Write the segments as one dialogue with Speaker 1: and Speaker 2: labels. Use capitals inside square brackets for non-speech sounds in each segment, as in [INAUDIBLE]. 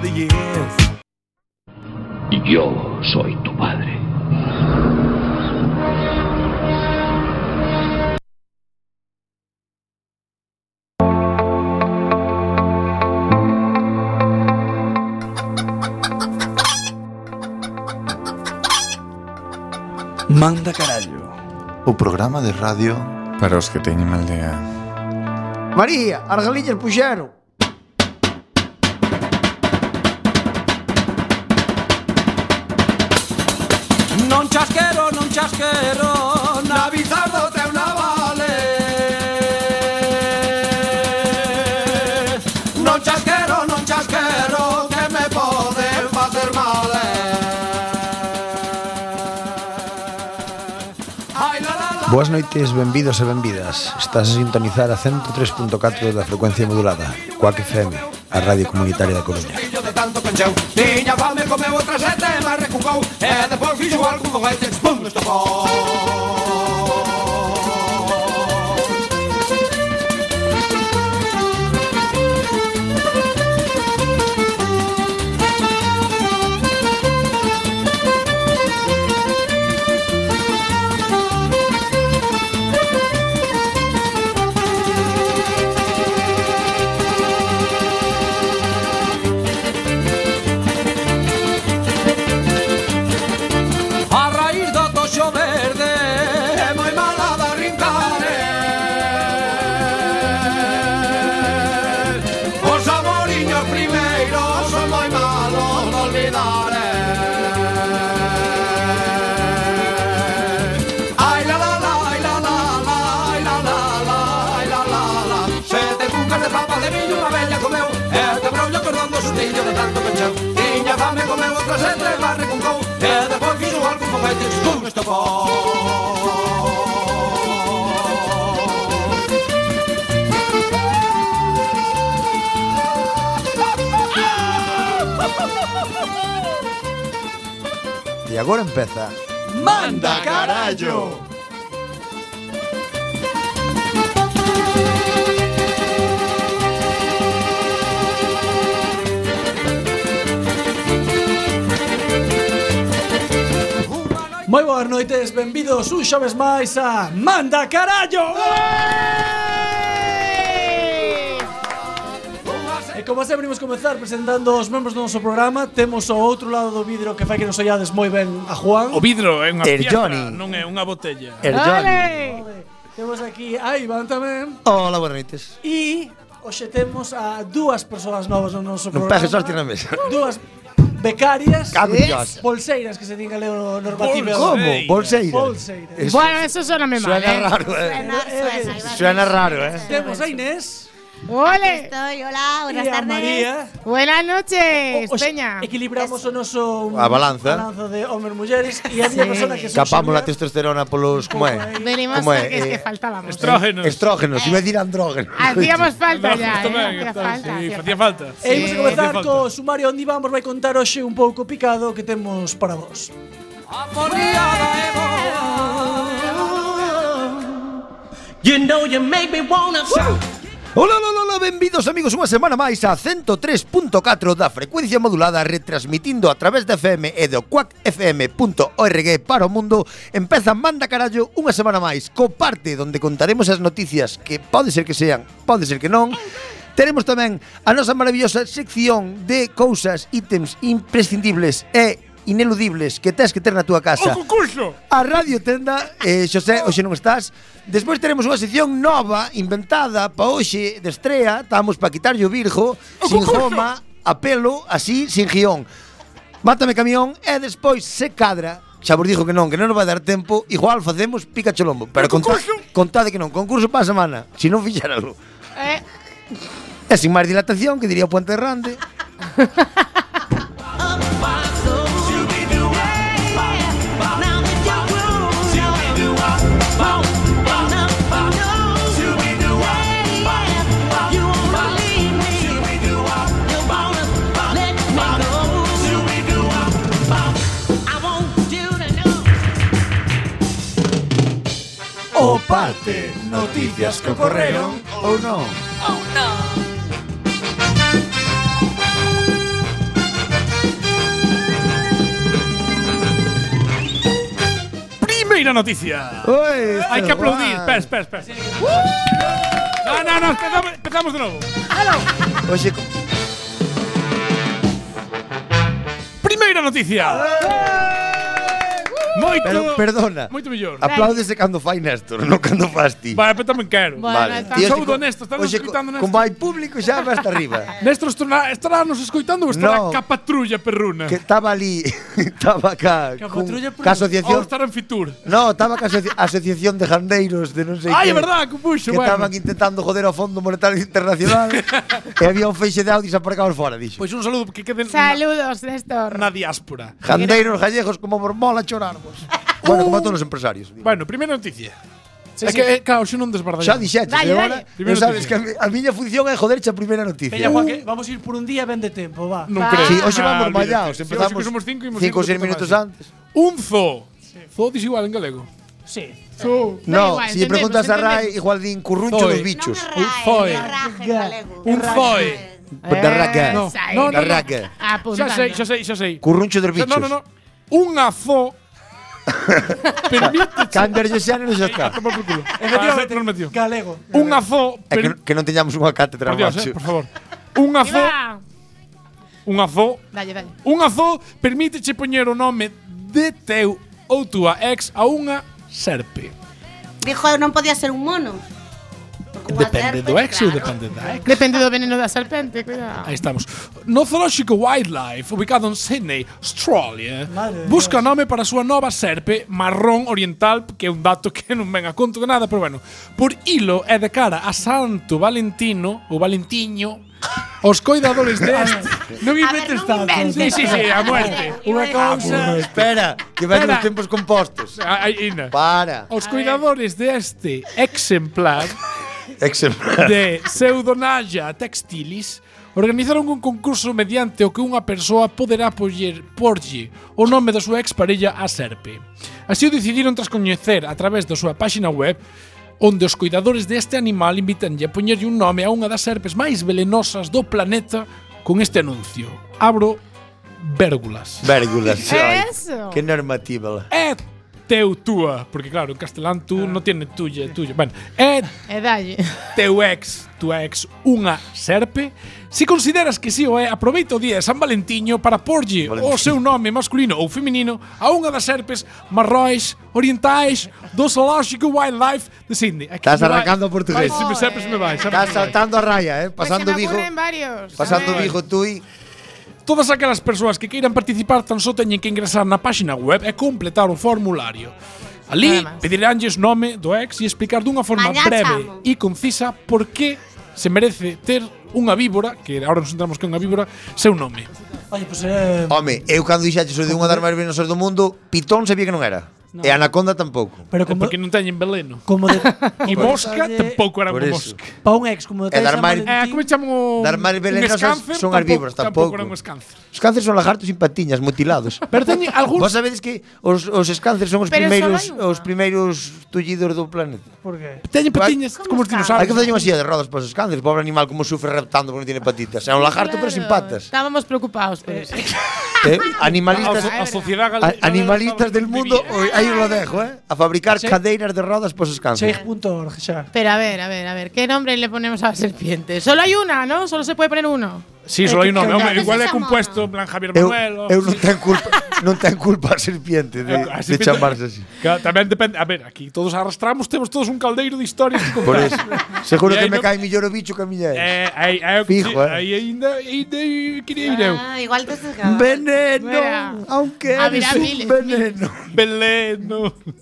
Speaker 1: the years.
Speaker 2: Yo soy tu padre.
Speaker 1: Manda carallo.
Speaker 3: O programa de radio
Speaker 4: Para os que teñen mal día
Speaker 5: María, as galiñas puxeron.
Speaker 6: Non chasquero, non chasquero Na bizardo teu navale Non chasquero, non chasquero Que me poden facer mal eh. Ai la la la
Speaker 7: Boas noites, benvidos e benvidas Estás a sintonizar a 103.4 da frecuencia modulada Coac FM, a radio comunitaria da Coruña
Speaker 6: Fillo de tanto pencheu Tiña fame, comeu outra sete E máis recucou E depois fixo algún foguete Pum, estopou A raíz do toxo verde É moi mala da rincare Os amoriños primeiros Son moi malos de olvidar eh. Ai la la la, ai la la la Ai la la la, ai la la la Sete cucas de papa de millo Unha bella comeu E te brollo cordón do sustillo de tanto pencheu Tiña fame comeu outra sete E barre con cou E depois fixo algo foguete Con estopou
Speaker 7: E agora empeza
Speaker 6: Manda carallo.
Speaker 1: Moi boas noites, benvidos un xoves máis a Manda Carallo! E como sempre imos comezar presentando os membros do noso programa Temos ao outro lado do vidro que fai que nos ollades moi ben a Juan
Speaker 8: O vidro é unha
Speaker 2: Eh,
Speaker 9: Ter
Speaker 8: piedra,
Speaker 9: Johnny.
Speaker 8: non é unha botella.
Speaker 9: El Johnny.
Speaker 1: Temos aquí a Iván tamén
Speaker 9: Hola, buenas noches.
Speaker 1: E hoxe temos a dúas persoas novas no noso
Speaker 9: Non
Speaker 1: programa
Speaker 9: pegues sorte na mesa.
Speaker 1: Dúas becarias e
Speaker 9: Cago en Dios.
Speaker 1: Bolseiras que se din galego normativo
Speaker 8: Como?
Speaker 9: Bolseira.
Speaker 1: Bolseiras
Speaker 9: Eso
Speaker 10: Bueno, eso suena mal.
Speaker 9: suena
Speaker 10: ¿eh?
Speaker 9: raro, eh.
Speaker 11: Suena, suena, Iván.
Speaker 9: Suena raro, eh.
Speaker 1: Temos a Inés
Speaker 10: ¡Ole!
Speaker 11: Estoy, hola, buenas
Speaker 1: e a
Speaker 11: tardes.
Speaker 1: María
Speaker 10: Buenas noches,
Speaker 1: O- o-
Speaker 10: Peña.
Speaker 1: Equilibramos o noso
Speaker 9: A balanza.
Speaker 1: balanza de hombres mulleres e a miña persona que son
Speaker 9: Escapamos la
Speaker 1: Xavier.
Speaker 9: testosterona polos, como é?
Speaker 10: Venimos
Speaker 9: Como
Speaker 10: hasta
Speaker 9: é?
Speaker 10: que es que
Speaker 9: Eh,
Speaker 10: faltábamos.
Speaker 8: Estrógenos.
Speaker 9: Estrógenos, iba a decir andrógenos.
Speaker 10: Hacíamos falta ya,
Speaker 8: Tamén,
Speaker 10: ¿eh? Hacía
Speaker 8: entón,
Speaker 10: falta.
Speaker 8: sí,
Speaker 10: hacía
Speaker 8: facía
Speaker 10: falta.
Speaker 8: falta.
Speaker 1: E imos a comezar
Speaker 8: Facía
Speaker 1: co
Speaker 8: falta.
Speaker 1: sumario onde Iván vos vai contar hoxe un pouco picado que temos para vos.
Speaker 6: You know you make me wanna shout.
Speaker 9: Hola, hola, hola, benvidos amigos unha semana máis a 103.4 da frecuencia modulada retransmitindo a través da FM e do quackfm.org para o mundo empeza Manda Carallo unha semana máis co parte donde contaremos as noticias que pode ser que sean, pode ser que non Teremos tamén a nosa maravillosa sección de cousas, ítems imprescindibles e ineludibles que tens que ter na túa casa.
Speaker 8: Concurso.
Speaker 9: A Radio Tenda, eh, Xosé, hoxe non estás Despois teremos unha sección nova Inventada pa hoxe de estrea Estamos pa quitarlle o virgo Sin joma, a pelo, así, sin guión Mátame camión E despois se cadra Xa vos dixo que non, que non nos vai dar tempo Igual facemos pica cholombo Pero conta, contade que non, concurso pa semana Se non fixéralo
Speaker 10: Eh,
Speaker 9: E sin máis dilatación, que diría o Puente Rande
Speaker 3: [LAUGHS] O parte Noticias que ocorreron ou non
Speaker 11: Hola,
Speaker 2: buena noticia.
Speaker 9: Oi,
Speaker 2: Hay que
Speaker 9: este
Speaker 2: aplaudir. Espera,
Speaker 9: guai.
Speaker 2: espera, espera.
Speaker 10: ¡Uh!
Speaker 2: No, no, no, empezamos, empezamos de nuevo.
Speaker 9: Oxe, co-
Speaker 2: Primeira noticia. Moito.
Speaker 9: pero, perdona.
Speaker 2: Moito mellor.
Speaker 9: Apláudese cando fai Néstor, non cando fas ti.
Speaker 2: Vale, pero tamén quero.
Speaker 10: Bueno, está-
Speaker 2: Tío,
Speaker 9: oxe,
Speaker 2: Saúdo,
Speaker 9: co-
Speaker 2: Néstor, están
Speaker 9: oxe,
Speaker 2: escritando,
Speaker 9: co-
Speaker 2: Néstor.
Speaker 9: Como hai público xa vai hasta
Speaker 2: [LAUGHS]
Speaker 9: arriba.
Speaker 2: Néstor estará, estará nos escoitando ou estará
Speaker 9: No.
Speaker 2: ca patrulla perruna?
Speaker 9: Que estaba ali, [LAUGHS] estaba cá,
Speaker 1: Que a
Speaker 9: con,
Speaker 1: patrulla por-
Speaker 9: ca
Speaker 2: Ou
Speaker 9: asociación,
Speaker 2: estará en Fitur.
Speaker 9: no, estaba ca asoci- asociación de jandeiros de non sei
Speaker 2: Ai, é
Speaker 9: que.
Speaker 2: verdad, que puxo,
Speaker 9: que
Speaker 2: bueno.
Speaker 9: estaban intentando joder ao Fondo
Speaker 2: [LAUGHS]
Speaker 9: Monetario Internacional e había un feixe de audios aparcados fora, dixo.
Speaker 2: Pois un saludo que queden na,
Speaker 10: Saludos, Néstor.
Speaker 2: na diáspora.
Speaker 9: Jandeiros gallegos como mormola
Speaker 2: [LAUGHS]
Speaker 9: chorarvos. bueno,
Speaker 2: Uh.
Speaker 9: como a todos os empresarios. digo.
Speaker 2: Bueno, primeira noticia. é que, eh, claro, xe non desbardallamos.
Speaker 9: Xa dixetes,
Speaker 10: Dale,
Speaker 9: eh,
Speaker 10: dale.
Speaker 9: ahora,
Speaker 2: Primeira
Speaker 9: non sabes
Speaker 2: noticia.
Speaker 9: que a, mi- a miña función é joderche a primeira noticia.
Speaker 1: Peña, Juan, que vamos a ir por un día ben de tempo, va.
Speaker 2: Non
Speaker 10: Va.
Speaker 2: creo.
Speaker 9: Sí, hoxe
Speaker 2: Ah,
Speaker 9: vamos
Speaker 2: olvídate.
Speaker 9: mallaos,
Speaker 2: Sí, hoxe
Speaker 9: empezamos
Speaker 2: que somos cinco, imos
Speaker 9: cinco ou
Speaker 2: indo
Speaker 9: seis
Speaker 2: puta
Speaker 9: minutos
Speaker 2: madre.
Speaker 9: antes.
Speaker 2: Un zoo. Zoo dis igual en galego.
Speaker 1: Sí.
Speaker 2: Zoo.
Speaker 10: Da
Speaker 9: No,
Speaker 10: igual,
Speaker 9: se lle preguntas a
Speaker 10: entendemos,
Speaker 9: Rai, igual din Uh, curruncho
Speaker 2: Zoe.
Speaker 9: dos bichos.
Speaker 2: Un zoe. Un zoe.
Speaker 9: Da raca.
Speaker 2: No,
Speaker 10: Esa
Speaker 2: no,
Speaker 10: é.
Speaker 9: Da raca.
Speaker 2: Xa
Speaker 10: Eh, Apuntando.
Speaker 2: sei, xa sei, xa sei.
Speaker 9: Curruncho dos
Speaker 2: Xa-
Speaker 9: bichos.
Speaker 2: No, no, no. Unha zoo permite
Speaker 9: Cambiarlle xa non
Speaker 2: eh,
Speaker 9: xa está.
Speaker 2: tomar por culo.
Speaker 1: Efectivamente,
Speaker 2: Nos metió.
Speaker 1: galego.
Speaker 2: Unha zoo
Speaker 9: É que,
Speaker 2: per...
Speaker 9: que non teñamos unha cátedra,
Speaker 2: Por Dios,
Speaker 9: macho.
Speaker 2: eh, por favor. Unha zoo,
Speaker 10: Iba.
Speaker 2: unha zoo,
Speaker 10: Dalle, dalle.
Speaker 2: unha zoo permíteche poñer o nome de teu ou túa ex a unha serpe.
Speaker 8: Dijo, non podía ser un mono. Porque unha
Speaker 2: Depende
Speaker 8: serpe,
Speaker 2: do ex ou
Speaker 8: claro.
Speaker 2: depende da ex?
Speaker 10: Depende do veneno da serpente, cuidado.
Speaker 2: Aí estamos. No Zoológico Wildlife, ubicado en Sydney, Australia,
Speaker 1: Madre de
Speaker 2: busca
Speaker 1: Dios.
Speaker 2: nome para a súa nova serpe marrón oriental, que é un dato que non ven a conto de nada, pero bueno. Por hilo é de cara a Santo Valentino, ou Valentiño, os coidadores deste.
Speaker 8: A
Speaker 2: non
Speaker 8: ver,
Speaker 2: inventes
Speaker 8: non
Speaker 2: tanto. Sí,
Speaker 8: inventes.
Speaker 2: sí, sí, a muerte.
Speaker 1: Unha cousa.
Speaker 9: Ah, Espera, que ven
Speaker 2: Espera.
Speaker 9: os tempos compostos.
Speaker 2: A- Aí, Ina.
Speaker 9: Para.
Speaker 2: Os cuidadores deste exemplar
Speaker 4: em- [LAUGHS]
Speaker 2: de Pseudonaya Textilis organizaron un concurso mediante o que unha persoa poderá poñer porlle o nome da súa exparella a serpe. Así o decidiron tras coñecer a través da súa páxina web onde os cuidadores deste animal invitanlle a poñerlle un nome a unha das serpes máis velenosas do planeta con este anuncio. Abro vérgulas.
Speaker 9: Vérgulas. ai.
Speaker 10: Eso.
Speaker 9: Que normativa.
Speaker 2: É teu túa, porque claro, en castelán tú non tiene tuya, tuya. Bueno, é
Speaker 10: E dalle.
Speaker 9: Pues
Speaker 2: teu ex, tua ex, unha serpe? Se consideras que si o é, aproveita o día de San Valentiño para porlle o seu nome masculino ou feminino a unha das serpes marrois orientais do Zoológico Wildlife de Sydney. Aquí
Speaker 9: Estás
Speaker 2: me vai-
Speaker 9: arrancando o portugués.
Speaker 2: Vai, se me serpes me vai. serpes me
Speaker 9: Estás
Speaker 2: vai.
Speaker 9: saltando a raya, eh?
Speaker 10: Pasando
Speaker 9: Pasando
Speaker 10: pues se me
Speaker 9: Vigo.
Speaker 10: ocurren varios.
Speaker 9: Pasando
Speaker 10: a ver.
Speaker 9: Vigo tú e...
Speaker 2: Todas aquelas persoas que queiran participar tan só teñen que ingresar na páxina web e completar o formulario. Ali
Speaker 10: Nada máis.
Speaker 2: pediránlles nome do ex e explicar dunha forma
Speaker 8: Mañá
Speaker 2: breve
Speaker 8: chamo.
Speaker 2: e concisa por que se merece ter unha víbora, que agora nos entramos que é unha víbora, seu nome.
Speaker 1: Oye, pues eh,
Speaker 9: Home, eu cando dixaxe sou de unha das máis venenosas do mundo, Pitón sabía que non era. E Anaconda tampouco.
Speaker 2: É
Speaker 1: pero como
Speaker 2: porque non teñen veleno.
Speaker 1: como de
Speaker 2: [LAUGHS] E mosca tampouco era
Speaker 9: Por
Speaker 2: unha
Speaker 9: eso.
Speaker 2: mosca.
Speaker 1: Pa un ex como de
Speaker 9: É dar mal-
Speaker 2: Eh, como chamo un,
Speaker 9: Das máis velenosas son as víboras, tampouco.
Speaker 2: eran un escáncer.
Speaker 9: Os cánceres son lagartos sin patiñas, mutilados.
Speaker 2: Pero teñen algúns...
Speaker 9: Vos sabedes que os, os escánceres son os
Speaker 10: Pero
Speaker 9: primeiros
Speaker 10: só vai unha.
Speaker 9: os primeiros tullidos do planeta.
Speaker 1: ¿Por qué?
Speaker 2: Teñen patiñas
Speaker 8: Como
Speaker 2: como os
Speaker 8: escáncer.
Speaker 9: Hai que
Speaker 2: dinosaurios.
Speaker 9: facer unha silla de rodas para os escánceres, pobre animal como sufre reptando porque non tiene patitas. É un lagarto pero sin patas.
Speaker 10: Estábamos preocupados por eso.
Speaker 9: Eh,
Speaker 2: A,
Speaker 9: Animalistas
Speaker 2: so- a sociedade
Speaker 9: a-
Speaker 2: galega...
Speaker 9: animalistas del mundo, oi, aí os lo dejo, eh, a fabricar cadeiras de rodas para os escánceres.
Speaker 1: Cheig.org xa.
Speaker 10: Pero a ver, a ver, a ver. ¿Qué nombre le ponemos a la serpiente? Solo hay una, ¿no? Solo se puede poner uno.
Speaker 2: Sí, só hai un nome.
Speaker 8: Claro,
Speaker 2: Home,
Speaker 8: ese
Speaker 2: igual é
Speaker 8: chamou,
Speaker 2: compuesto en plan Javier
Speaker 9: Eh, Eu,
Speaker 2: Manuel... ou-
Speaker 9: eu non ten culpa, non ten culpa a serpiente
Speaker 2: [LAUGHS]
Speaker 9: de,
Speaker 2: A
Speaker 9: de
Speaker 2: serpiente-
Speaker 9: chamarse así.
Speaker 2: Claro, Tamén depende... A ver, aquí todos arrastramos, temos todos un caldeiro de historias que
Speaker 9: Por
Speaker 2: contar.
Speaker 9: eso. Seguro
Speaker 2: E aí
Speaker 9: que me
Speaker 2: non-
Speaker 9: cae mellor o bicho que a miña ex.
Speaker 2: Eh, aí, aí, eu-
Speaker 9: Fijo, eh.
Speaker 2: aí ainda, ainda queria ir eu.
Speaker 8: Ah, igual te sesgaba.
Speaker 10: Ah,
Speaker 9: Veneno,
Speaker 10: Mira.
Speaker 9: aunque
Speaker 10: Habrá
Speaker 9: eres un
Speaker 10: miles,
Speaker 9: veneno.
Speaker 2: Beleno.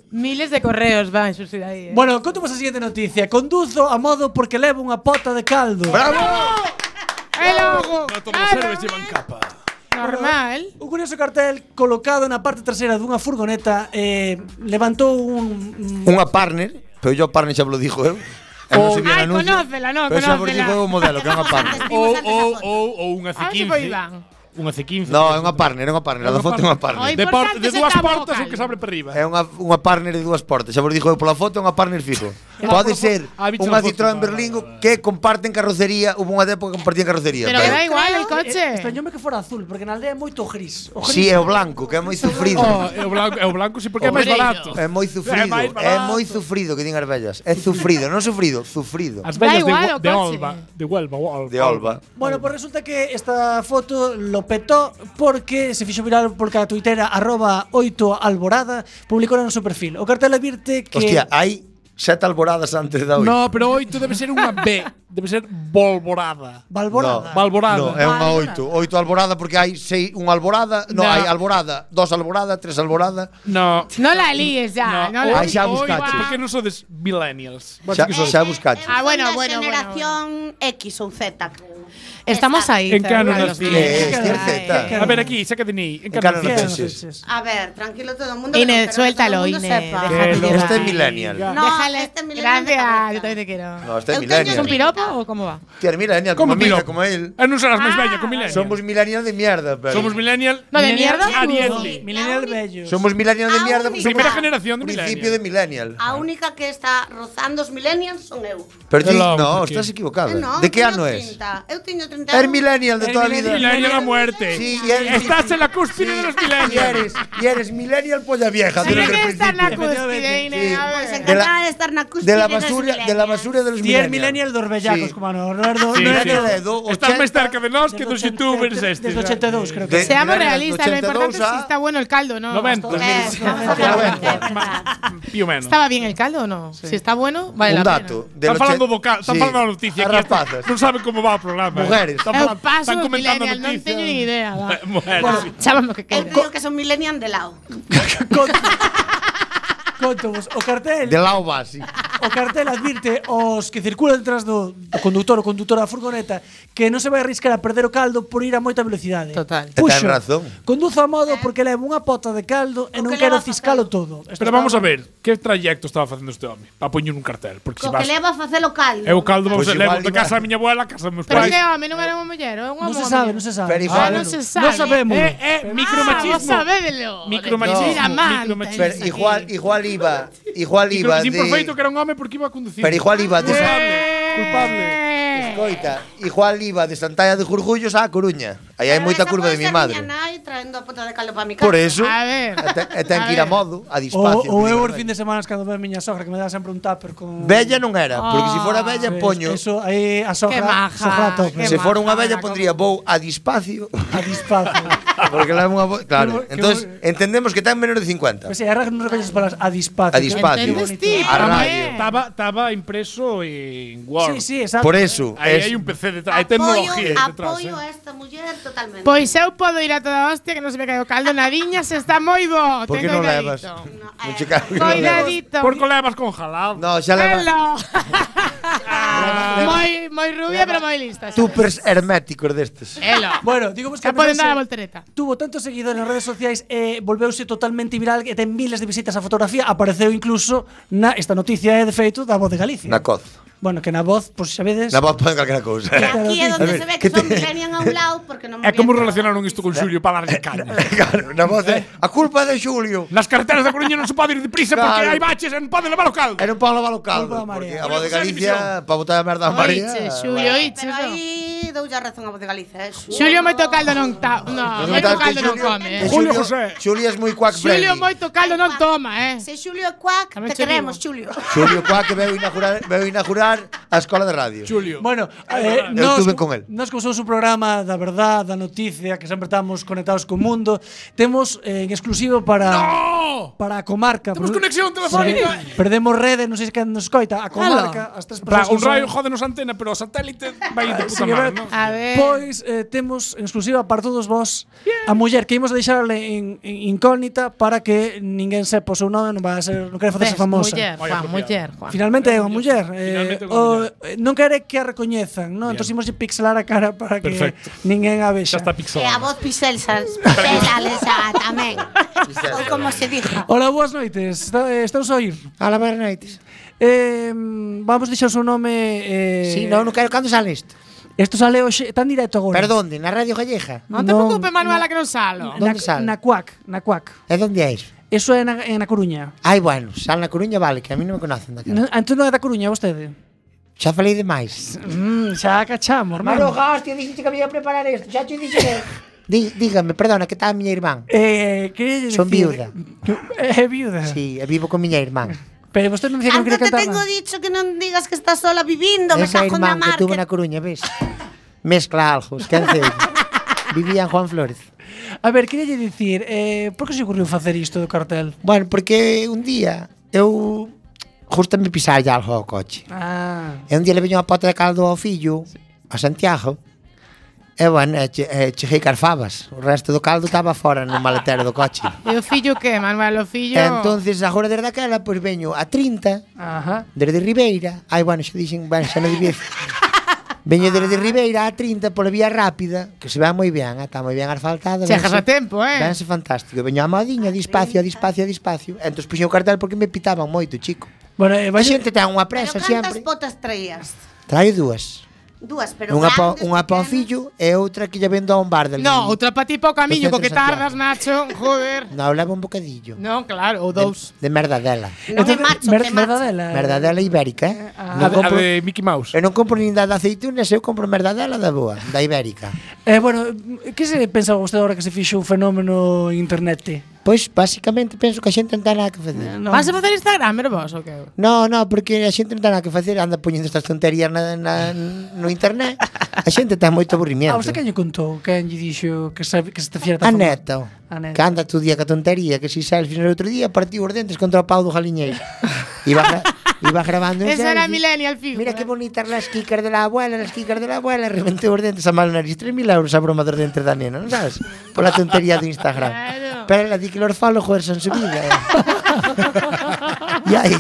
Speaker 10: Miles de correos van, Susi, ahí. ¿eh?
Speaker 1: Bueno, contamos a siguiente noticia. Conduzo a modo porque levo unha pota de caldo.
Speaker 9: ¡Bravo!
Speaker 10: ¡El ojo!
Speaker 2: No todos
Speaker 10: Ah,
Speaker 2: os héroes
Speaker 10: no.
Speaker 2: llevan capa.
Speaker 10: Normal.
Speaker 1: Un curioso cartel colocado na parte traseira dunha furgoneta eh, levantou un...
Speaker 9: Unha partner, pero yo partner xa vos lo dijo eu. E non se vio
Speaker 10: Ay,
Speaker 9: no anuncio.
Speaker 10: conócela, no,
Speaker 9: Pero xa vos dijo
Speaker 10: conócela.
Speaker 2: [LAUGHS]
Speaker 9: o modelo, que é unha partner.
Speaker 8: Antes
Speaker 2: Ou,
Speaker 8: vimos antes a
Speaker 2: ou,
Speaker 8: foto.
Speaker 2: ou, ou un
Speaker 10: A ver si fue
Speaker 2: F-15.
Speaker 10: Iván.
Speaker 2: un C15.
Speaker 9: No, é unha partner, é unha partner, a da foto é unha partner.
Speaker 2: De, por, de dúas portas
Speaker 10: eh.
Speaker 2: o que se abre para arriba.
Speaker 9: É unha, unha partner de dúas portas, xa vos dixo eu pola foto, é unha partner fijo.
Speaker 10: [LAUGHS]
Speaker 9: Pode ser
Speaker 2: Ah, bicho,
Speaker 9: unha
Speaker 2: na foto,
Speaker 9: Citroën Berlingo que comparten carrocería, hubo unha época que compartían carrocería.
Speaker 10: Pero que da igual el coche.
Speaker 1: Extrañome que fora azul, porque na aldea é moito gris. O gris
Speaker 9: Si, é o blanco, que é moi sufrido.
Speaker 2: Oh, é o blanco, é o blanco sí, porque é máis
Speaker 10: Obreiro.
Speaker 2: barato.
Speaker 9: É moi sufrido,
Speaker 2: É máis
Speaker 9: é
Speaker 2: barato.
Speaker 9: moi sufrido que din as vellas. É sufrido, non sufrido, sufrido.
Speaker 10: Da
Speaker 2: As vellas de,
Speaker 10: igual o
Speaker 2: Gu- de
Speaker 10: coche.
Speaker 2: Olva, de Huelva, Olva.
Speaker 9: De Olva.
Speaker 1: Bueno, pues resulta que esta foto lo petó porque se fixo viral porque a tuitera arroba 8 alborada publicou no seu perfil. O cartel advirte que
Speaker 9: Hostia, hai sete alboradas antes da oito.
Speaker 2: No, pero oito debe ser unha B, debe ser Volvorada.
Speaker 1: Valborada.
Speaker 2: Valvorada.
Speaker 9: No, é unha oito. Oito alborada porque hai sei, unha alborada, no,
Speaker 2: No.
Speaker 9: hai alborada, dos alborada, tres alborada.
Speaker 2: No.
Speaker 10: No la líes ya. No, la
Speaker 9: Ai, xa
Speaker 10: líes.
Speaker 9: buscache.
Speaker 2: Porque non sodes millennials.
Speaker 9: Xa, xa buscache.
Speaker 10: Ah, bueno,
Speaker 8: Son da
Speaker 10: bueno, bueno,
Speaker 8: Generación X ou Z.
Speaker 10: Estamos
Speaker 8: Está.
Speaker 10: ahí.
Speaker 2: En
Speaker 10: cerca
Speaker 2: Canon
Speaker 10: de
Speaker 2: las
Speaker 10: los
Speaker 2: líes.
Speaker 10: líes.
Speaker 9: Eh,
Speaker 1: Claro,
Speaker 9: cierta.
Speaker 1: eh,
Speaker 2: A ver aquí, saca de ni. En
Speaker 9: Encara non
Speaker 2: Canadá.
Speaker 9: penses.
Speaker 8: A ver, tranquilo todo el mundo.
Speaker 10: Ine,
Speaker 8: que no- que no todo el
Speaker 10: suéltalo,
Speaker 8: mundo
Speaker 10: Ine,
Speaker 8: sepa.
Speaker 10: déjate
Speaker 2: Que lo
Speaker 10: llevar.
Speaker 9: Este é millennial.
Speaker 8: No,
Speaker 10: Déjale.
Speaker 8: este millennial me
Speaker 10: Gracias,
Speaker 8: parece.
Speaker 10: yo también te quiero.
Speaker 9: No, este é
Speaker 10: ¿Es
Speaker 8: Eu
Speaker 9: millennial.
Speaker 10: un
Speaker 8: teño
Speaker 10: piropo o cómo va?
Speaker 9: Tía, millennial, como
Speaker 2: Como
Speaker 9: mira,
Speaker 2: pilo.
Speaker 9: como él.
Speaker 2: Ah, non serás máis
Speaker 10: Ah,
Speaker 2: bella, con millennial.
Speaker 9: Somos millennial de mierda, pero.
Speaker 2: Somos millennial.
Speaker 10: No, de
Speaker 1: Millennial-
Speaker 10: mierda.
Speaker 1: Ah,
Speaker 2: Ariadne.
Speaker 1: Millennial bello.
Speaker 9: Somos millennial de
Speaker 8: Ah,
Speaker 9: mierda
Speaker 8: un
Speaker 9: porque
Speaker 2: Primera
Speaker 8: Somos-
Speaker 2: generación de
Speaker 9: principio
Speaker 2: millennial.
Speaker 9: de millennial.
Speaker 8: A única que está rozando os millennials son eu. Eh,
Speaker 9: Pero ti,
Speaker 2: Qué loco,
Speaker 9: no,
Speaker 2: tío.
Speaker 9: estás equivocada.
Speaker 8: Eu non,
Speaker 9: ¿De qué
Speaker 8: teño
Speaker 9: ano es?
Speaker 8: 30. Eu teño 30
Speaker 9: Es millennial de toda la vida.
Speaker 2: Millennial a muerte.
Speaker 9: Sí, y eres,
Speaker 2: Estás en la cúspide de los
Speaker 9: y
Speaker 2: millennials.
Speaker 9: eres, y eres millennial polla vieja.
Speaker 10: Tiene
Speaker 9: desde el
Speaker 10: que estar
Speaker 9: principio.
Speaker 10: la cúspide,
Speaker 9: Sí.
Speaker 10: Ine. este a ver.
Speaker 8: Pois
Speaker 9: De la-
Speaker 8: encantada de, estar na cúspide
Speaker 9: de la
Speaker 8: dos
Speaker 9: basura, de la
Speaker 8: millennials.
Speaker 9: basura de los
Speaker 1: Ti eres
Speaker 9: millennials.
Speaker 1: millennial dos bellacos,
Speaker 9: Sí.
Speaker 1: como a no, Leonardo.
Speaker 2: Sí,
Speaker 1: non
Speaker 9: Millennial
Speaker 1: é
Speaker 2: sí.
Speaker 1: que-
Speaker 9: de do-
Speaker 2: Estás
Speaker 9: 80,
Speaker 2: máis cerca de nós que dos
Speaker 1: Desde
Speaker 2: youtubers
Speaker 1: 83,
Speaker 2: estes. eh.
Speaker 1: Desde 82, creo que.
Speaker 9: De-
Speaker 1: sí.
Speaker 10: Seamos
Speaker 9: Millennial
Speaker 10: realistas, lo
Speaker 9: 82
Speaker 10: importante es
Speaker 9: a- Ah,
Speaker 10: si está bueno el caldo, ¿no?
Speaker 2: 90.
Speaker 8: Eso, vamos a ver,
Speaker 10: [LAUGHS]
Speaker 8: é verdad.
Speaker 2: Pío menos.
Speaker 10: ¿Estaba bien el caldo o no? Si está bueno, vale la
Speaker 9: Un dato.
Speaker 10: pena.
Speaker 9: del
Speaker 2: Están falando
Speaker 9: 80
Speaker 2: do ca- están
Speaker 9: Sí.
Speaker 2: falando da noticia.
Speaker 9: As
Speaker 2: aquí.
Speaker 9: rapazas.
Speaker 2: Non saben como va o programa. eh.
Speaker 9: Mujeres.
Speaker 2: Están,
Speaker 10: Eu
Speaker 2: falan-
Speaker 10: [LAUGHS] paso
Speaker 2: están
Speaker 10: dos
Speaker 2: comentando
Speaker 10: millennial, non
Speaker 2: noticias. Eh,
Speaker 10: teño ni idea. va.
Speaker 2: [LAUGHS] Mujeres.
Speaker 10: Chámame lo que
Speaker 8: Eu
Speaker 10: queira.
Speaker 8: digo que son millennial de lado.
Speaker 1: Conto- Contovos, o cartel
Speaker 9: de lao base.
Speaker 1: O cartel advirte aos que circulan detrás do, do conductor ou conductora da furgoneta que non se vai arriscar a perder o caldo por ir a moita velocidade.
Speaker 10: Total.
Speaker 9: Ten razón.
Speaker 1: Conduzo a modo porque levo unha pota de caldo e non
Speaker 8: que leva
Speaker 1: quero ciscalo todo. Esto
Speaker 2: Pero
Speaker 1: está-
Speaker 2: vamos a ver, que trayecto estaba facendo este home para poñer un cartel, porque se
Speaker 8: Co que
Speaker 2: vas
Speaker 8: leva a facer o caldo.
Speaker 2: É o caldo, vamos a
Speaker 9: Pois
Speaker 2: levo
Speaker 9: igual
Speaker 2: de
Speaker 9: iba-
Speaker 2: casa a miña abuela, a casa dos meus
Speaker 10: Pero
Speaker 2: pais.
Speaker 10: que home non era unha muller, era un
Speaker 1: Non se
Speaker 10: home.
Speaker 1: sabe, non se sabe.
Speaker 9: pues, Pero
Speaker 10: Ah,
Speaker 9: igual-
Speaker 10: non se sabe. Eh,
Speaker 1: Non sabemos.
Speaker 2: É, é
Speaker 10: Ah, vos
Speaker 2: Eh, micromachismo.
Speaker 10: sabédelo.
Speaker 2: Micromachismo,
Speaker 10: Mira, manta,
Speaker 2: micromachismo.
Speaker 9: Pero
Speaker 10: esa
Speaker 9: igual,
Speaker 10: aquí.
Speaker 9: igual iba, igual
Speaker 2: Micro-
Speaker 9: iba
Speaker 2: Sin por feito
Speaker 9: de...
Speaker 2: que era un home porque iba a conducir.
Speaker 9: Pero igual iba de...
Speaker 2: Culpable, culpable.
Speaker 9: Coita, igual iba de Santalla de Jurgullos a Coruña. Aí hai
Speaker 8: Pero Ah,
Speaker 9: moita
Speaker 8: esa
Speaker 9: curva
Speaker 8: puede
Speaker 9: de mi
Speaker 8: ser
Speaker 9: madre.
Speaker 8: miña nai traendo a pota de caldo para mi casa.
Speaker 9: Por eso,
Speaker 10: A ver.
Speaker 9: e te- e ten
Speaker 10: A
Speaker 9: que ir a
Speaker 10: ver.
Speaker 9: modo, a
Speaker 1: O,
Speaker 9: dispacio.
Speaker 1: o eu os fin de semana cando ve a miña sogra que me dá sempre un tupper con
Speaker 9: Bella non era, porque se
Speaker 10: Ah.
Speaker 9: fora
Speaker 2: Ah.
Speaker 9: bella,
Speaker 1: Pois,
Speaker 9: poño...
Speaker 1: Eso
Speaker 2: eh,
Speaker 1: aí a sogra,
Speaker 10: Que maja,
Speaker 1: sogra a tope.
Speaker 10: que
Speaker 9: Se fora unha
Speaker 10: maja,
Speaker 9: bella,
Speaker 10: como-
Speaker 9: pondría vou a dispacio.
Speaker 1: a dispacio.
Speaker 9: [LAUGHS] Porque la unha bo- Claro,
Speaker 1: Que bo- que
Speaker 9: entonces
Speaker 1: bo-
Speaker 9: entendemos que ten menos de 50.
Speaker 1: Pois si, a non recolles as palabras a dispacio.
Speaker 9: A dispacio.
Speaker 10: Entendes ti,
Speaker 9: A
Speaker 10: tamén.
Speaker 9: radio.
Speaker 2: Estaba, estaba impreso en
Speaker 1: Sí,
Speaker 2: Word.
Speaker 1: sí, exacto.
Speaker 9: Por eso,
Speaker 2: Aí
Speaker 9: es-
Speaker 2: hai un PC detrás,
Speaker 8: Apoio,
Speaker 2: hai tecnología detrás.
Speaker 8: apoio a
Speaker 2: eh.
Speaker 8: esta muller totalmente.
Speaker 10: Pois eu podo ir a toda hostia que non se me cae o caldo na viña, se está moi bo.
Speaker 9: Por que
Speaker 10: Ten
Speaker 9: non levas?
Speaker 10: coidadito.
Speaker 8: No,
Speaker 9: Non
Speaker 8: eh,
Speaker 9: che cago que non levas.
Speaker 10: Coidadito.
Speaker 2: Por que levas con jalado?
Speaker 9: No, xa leva
Speaker 10: Velo. moi moi rubia, pero moi lista. sabes?
Speaker 9: tupers herméticos
Speaker 8: Eh.
Speaker 9: destes.
Speaker 10: Elo.
Speaker 1: Bueno, digo vos que
Speaker 10: Xa
Speaker 1: a
Speaker 10: poden
Speaker 1: mensaxe
Speaker 10: dar a voltereta.
Speaker 1: Tuvo tantos seguidores nas redes sociais e volveuse totalmente viral e ten miles de visitas a fotografía, apareceu incluso na esta noticia é de feito da Voz de Galicia.
Speaker 9: Na coz.
Speaker 1: Bueno, que na Voz, pois sabedes,
Speaker 9: Na voz poden calquera cousa.
Speaker 8: E aquí é
Speaker 9: A
Speaker 8: donde
Speaker 9: ver,
Speaker 8: se ve que
Speaker 9: que
Speaker 8: son
Speaker 9: te-
Speaker 8: millennial a un lado porque non me
Speaker 2: É como
Speaker 8: oriento.
Speaker 2: relacionaron isto con Xulio para darlle
Speaker 1: Eh,
Speaker 2: caña.
Speaker 9: Claro, na voz é a culpa é de Xulio.
Speaker 2: Eh. Nas carreteras da Coruña non se pode ir deprisa porque
Speaker 9: Claro.
Speaker 2: hai baches e non pode levar o caldo.
Speaker 9: Era un Pablo Balo Caldo,
Speaker 1: Culpa da
Speaker 9: porque
Speaker 1: María.
Speaker 9: a voz de
Speaker 2: Pero José
Speaker 9: Galicia,
Speaker 2: División.
Speaker 9: para botar a merda a María...
Speaker 10: Oiche, Xulio,
Speaker 9: bueno.
Speaker 10: oiche.
Speaker 8: Pero
Speaker 10: eso.
Speaker 8: aí dou ya razón a voz de Galicia, eh. Xulio.
Speaker 10: Xulio moito caldo non ta, no,
Speaker 9: Pero
Speaker 10: moito
Speaker 9: sabes que
Speaker 10: caldo non
Speaker 9: Xulio-
Speaker 10: come.
Speaker 9: que
Speaker 10: eh.
Speaker 2: Julio
Speaker 9: Xulio-
Speaker 2: José.
Speaker 9: Xulio é moi quack friendly.
Speaker 10: Xulio moito caldo non toma, eh.
Speaker 8: Se Xulio é cuac,
Speaker 10: Tamén
Speaker 8: te
Speaker 10: che
Speaker 8: queremos, Xulio.
Speaker 9: Xulio Cuac que veu inaugurar, veu inaugurar a escola de radio.
Speaker 2: Xulio.
Speaker 1: Bueno,
Speaker 9: Eu
Speaker 1: eh, nos,
Speaker 9: tuve con el.
Speaker 1: nos como somos un programa da verdad, da noticia, que sempre estamos conectados co mundo, temos eh, en exclusivo para
Speaker 2: ¡No!
Speaker 1: para a comarca.
Speaker 2: Temos
Speaker 1: por-
Speaker 2: conexión telefónica.
Speaker 1: Sí. Perdemos rede, non sei se quen nos coita, a comarca, as tres
Speaker 2: Pra,
Speaker 1: persoas. Eh, que
Speaker 2: un
Speaker 1: nos
Speaker 2: raio
Speaker 1: oen-
Speaker 2: jódenos antena, pero o satélite vai de
Speaker 1: Sí,
Speaker 2: puta
Speaker 1: que
Speaker 2: madre,
Speaker 1: ver.
Speaker 2: ¿no?
Speaker 10: A ver.
Speaker 1: Pois eh, temos en exclusiva para todos vos a muller que imos a deixarle en, en incógnita para que ninguén sepa o seu nome, non vai a ser, non quere facerse
Speaker 10: Ves,
Speaker 1: famosa.
Speaker 10: Muller,
Speaker 2: Vaya
Speaker 10: Juan,
Speaker 2: apropiado.
Speaker 10: muller, Juan.
Speaker 1: Finalmente é unha muller, eh,
Speaker 2: Finalmente é unha
Speaker 1: o,
Speaker 2: muller.
Speaker 1: eh, non quere que a recoñezan, non? Entón imos pixelar a cara para que
Speaker 2: Perfecto.
Speaker 1: ninguén a
Speaker 2: Xa
Speaker 1: vexa.
Speaker 2: está
Speaker 8: E a
Speaker 2: pixelado.
Speaker 8: voz pixel,
Speaker 2: [LAUGHS]
Speaker 8: pixel esa tamén. Ou como se dixa.
Speaker 1: Ola, boas noites. Está, eh, estamos a oír.
Speaker 5: A la noites.
Speaker 1: Eh, vamos deixar o seu nome eh,
Speaker 5: Sí, no, no quero cando sale isto.
Speaker 1: Esto sale hoxe, tan directo agora.
Speaker 9: Perdón, na Radio Galleja.
Speaker 10: Non te preocupes, Manuela, que non salo.
Speaker 1: Na, na cuac, na cuac.
Speaker 9: É donde é iso?
Speaker 1: Eso é na, en A Coruña.
Speaker 9: Ai, bueno, sal na Coruña vale, que a mí non me conocen daquela.
Speaker 1: No, entón non é da Coruña vostede?
Speaker 9: Xa falei demais.
Speaker 1: Mm, xa cachamos,
Speaker 5: Maro,
Speaker 1: hermano.
Speaker 5: hostia, dijiste que había que preparar esto. Ya te dije que...
Speaker 9: Dí, dígame, perdona, que está a miña irmán.
Speaker 1: [LAUGHS] Eh, [LAUGHS] quería
Speaker 9: Son
Speaker 1: decir-
Speaker 9: viuda.
Speaker 1: É viuda.
Speaker 9: Sí, e vivo con miña irmán.
Speaker 1: Pero vostede non dicía que non
Speaker 8: Antes
Speaker 1: quería
Speaker 8: te
Speaker 1: cantar.
Speaker 8: tengo dicho que no digas que estás sola viviendo, me
Speaker 9: Esa
Speaker 8: cago en la
Speaker 9: irmán que tuve
Speaker 8: marca.
Speaker 9: na Coruña, ves? Mezcla algo, esquece.
Speaker 8: [LAUGHS]
Speaker 9: Vivía en Juan Flores.
Speaker 1: A ver, quería dicir, eh, por que se ocurriu facer isto do cartel?
Speaker 9: Bueno, porque un día eu justo me pisar ya algo ao coche.
Speaker 1: Ah,
Speaker 9: E un día le veño a pota de caldo ao fillo, a Santiago, e, bueno, e, che, e chejei cas fabas. O resto do caldo estaba fora no maletero do coche.
Speaker 10: E o fillo que, Manuel, o fillo...
Speaker 9: E entonces, agora desde aquela, pois veño a 30,
Speaker 1: ajá.
Speaker 9: desde Ribeira, ai, bueno, xa dixen, bueno, xa
Speaker 10: [LAUGHS]
Speaker 9: non debía... Veño desde
Speaker 10: Ah.
Speaker 9: Ribeira a 30 pola vía rápida, que se va moi ben, ah, está moi ben asfaltada.
Speaker 10: Chegas
Speaker 9: vense-
Speaker 10: a tempo, eh?
Speaker 9: Vense fantástico. Veño a modiña, despacio, despacio, despacio. E entón puxen o cartel porque me pitaban moito, chico.
Speaker 1: Bueno,
Speaker 9: A
Speaker 1: eh, vais,
Speaker 9: xente ten unha
Speaker 8: Pero
Speaker 9: presa
Speaker 8: ¿cuántas
Speaker 9: sempre.
Speaker 8: botas traías?
Speaker 9: Traio dúas.
Speaker 8: Dúas, pero
Speaker 9: Unha pa,
Speaker 8: grandes,
Speaker 9: unha pa o
Speaker 8: pequenas.
Speaker 9: fillo e outra que lle vendo a un bar del.
Speaker 10: No, outra pa ti pa o camiño, co
Speaker 9: Do
Speaker 10: que
Speaker 9: centro
Speaker 10: tardas, Nacho, joder.
Speaker 9: No, leva un bocadillo.
Speaker 10: Non, claro, ou
Speaker 9: De,
Speaker 10: dous.
Speaker 9: de merdadela.
Speaker 8: Non de macho, de macho.
Speaker 1: merdadela.
Speaker 9: Merdadela ibérica, eh?
Speaker 1: Ah,
Speaker 2: A, de- a
Speaker 9: non compro,
Speaker 2: de Mickey Mouse.
Speaker 9: eu non compro nin da de aceitunas, eu compro merdadela da boa, da ibérica.
Speaker 1: Eh, bueno, que se pensaba vostede agora que se fixo un fenómeno internet?
Speaker 9: Pois, basicamente, penso que a xente non ten nada que facer.
Speaker 1: Non.
Speaker 10: Vas a facer Instagram, pero vos, o que?
Speaker 9: No, no, porque a xente non ten nada que facer, anda poñendo estas tonterías na, na, no internet. A xente ten moito
Speaker 1: Ah,
Speaker 9: aburrimiento.
Speaker 1: vostede que lle contou? Que lle dixo que, sabe, que se te fiera
Speaker 9: A
Speaker 1: tan famoso?
Speaker 9: neto.
Speaker 1: A neto.
Speaker 9: Que anda tu día ca tontería, que si selfies no outro día partiu os dentes contra o pau do jaliñeiro. Iba, gra iba grabando un
Speaker 10: Esa era
Speaker 9: selfie.
Speaker 10: Millennial eh. Figura.
Speaker 9: Mira que bonitas las kickers de la abuela, las kickers de la abuela, reventou os dentes a mal nariz, 3.000 euros a broma dos dentes da nena, non sabes? Pola tontería do Instagram.
Speaker 10: Claro.
Speaker 9: Pero la di que los falos joder son su vida. Eh. e hai,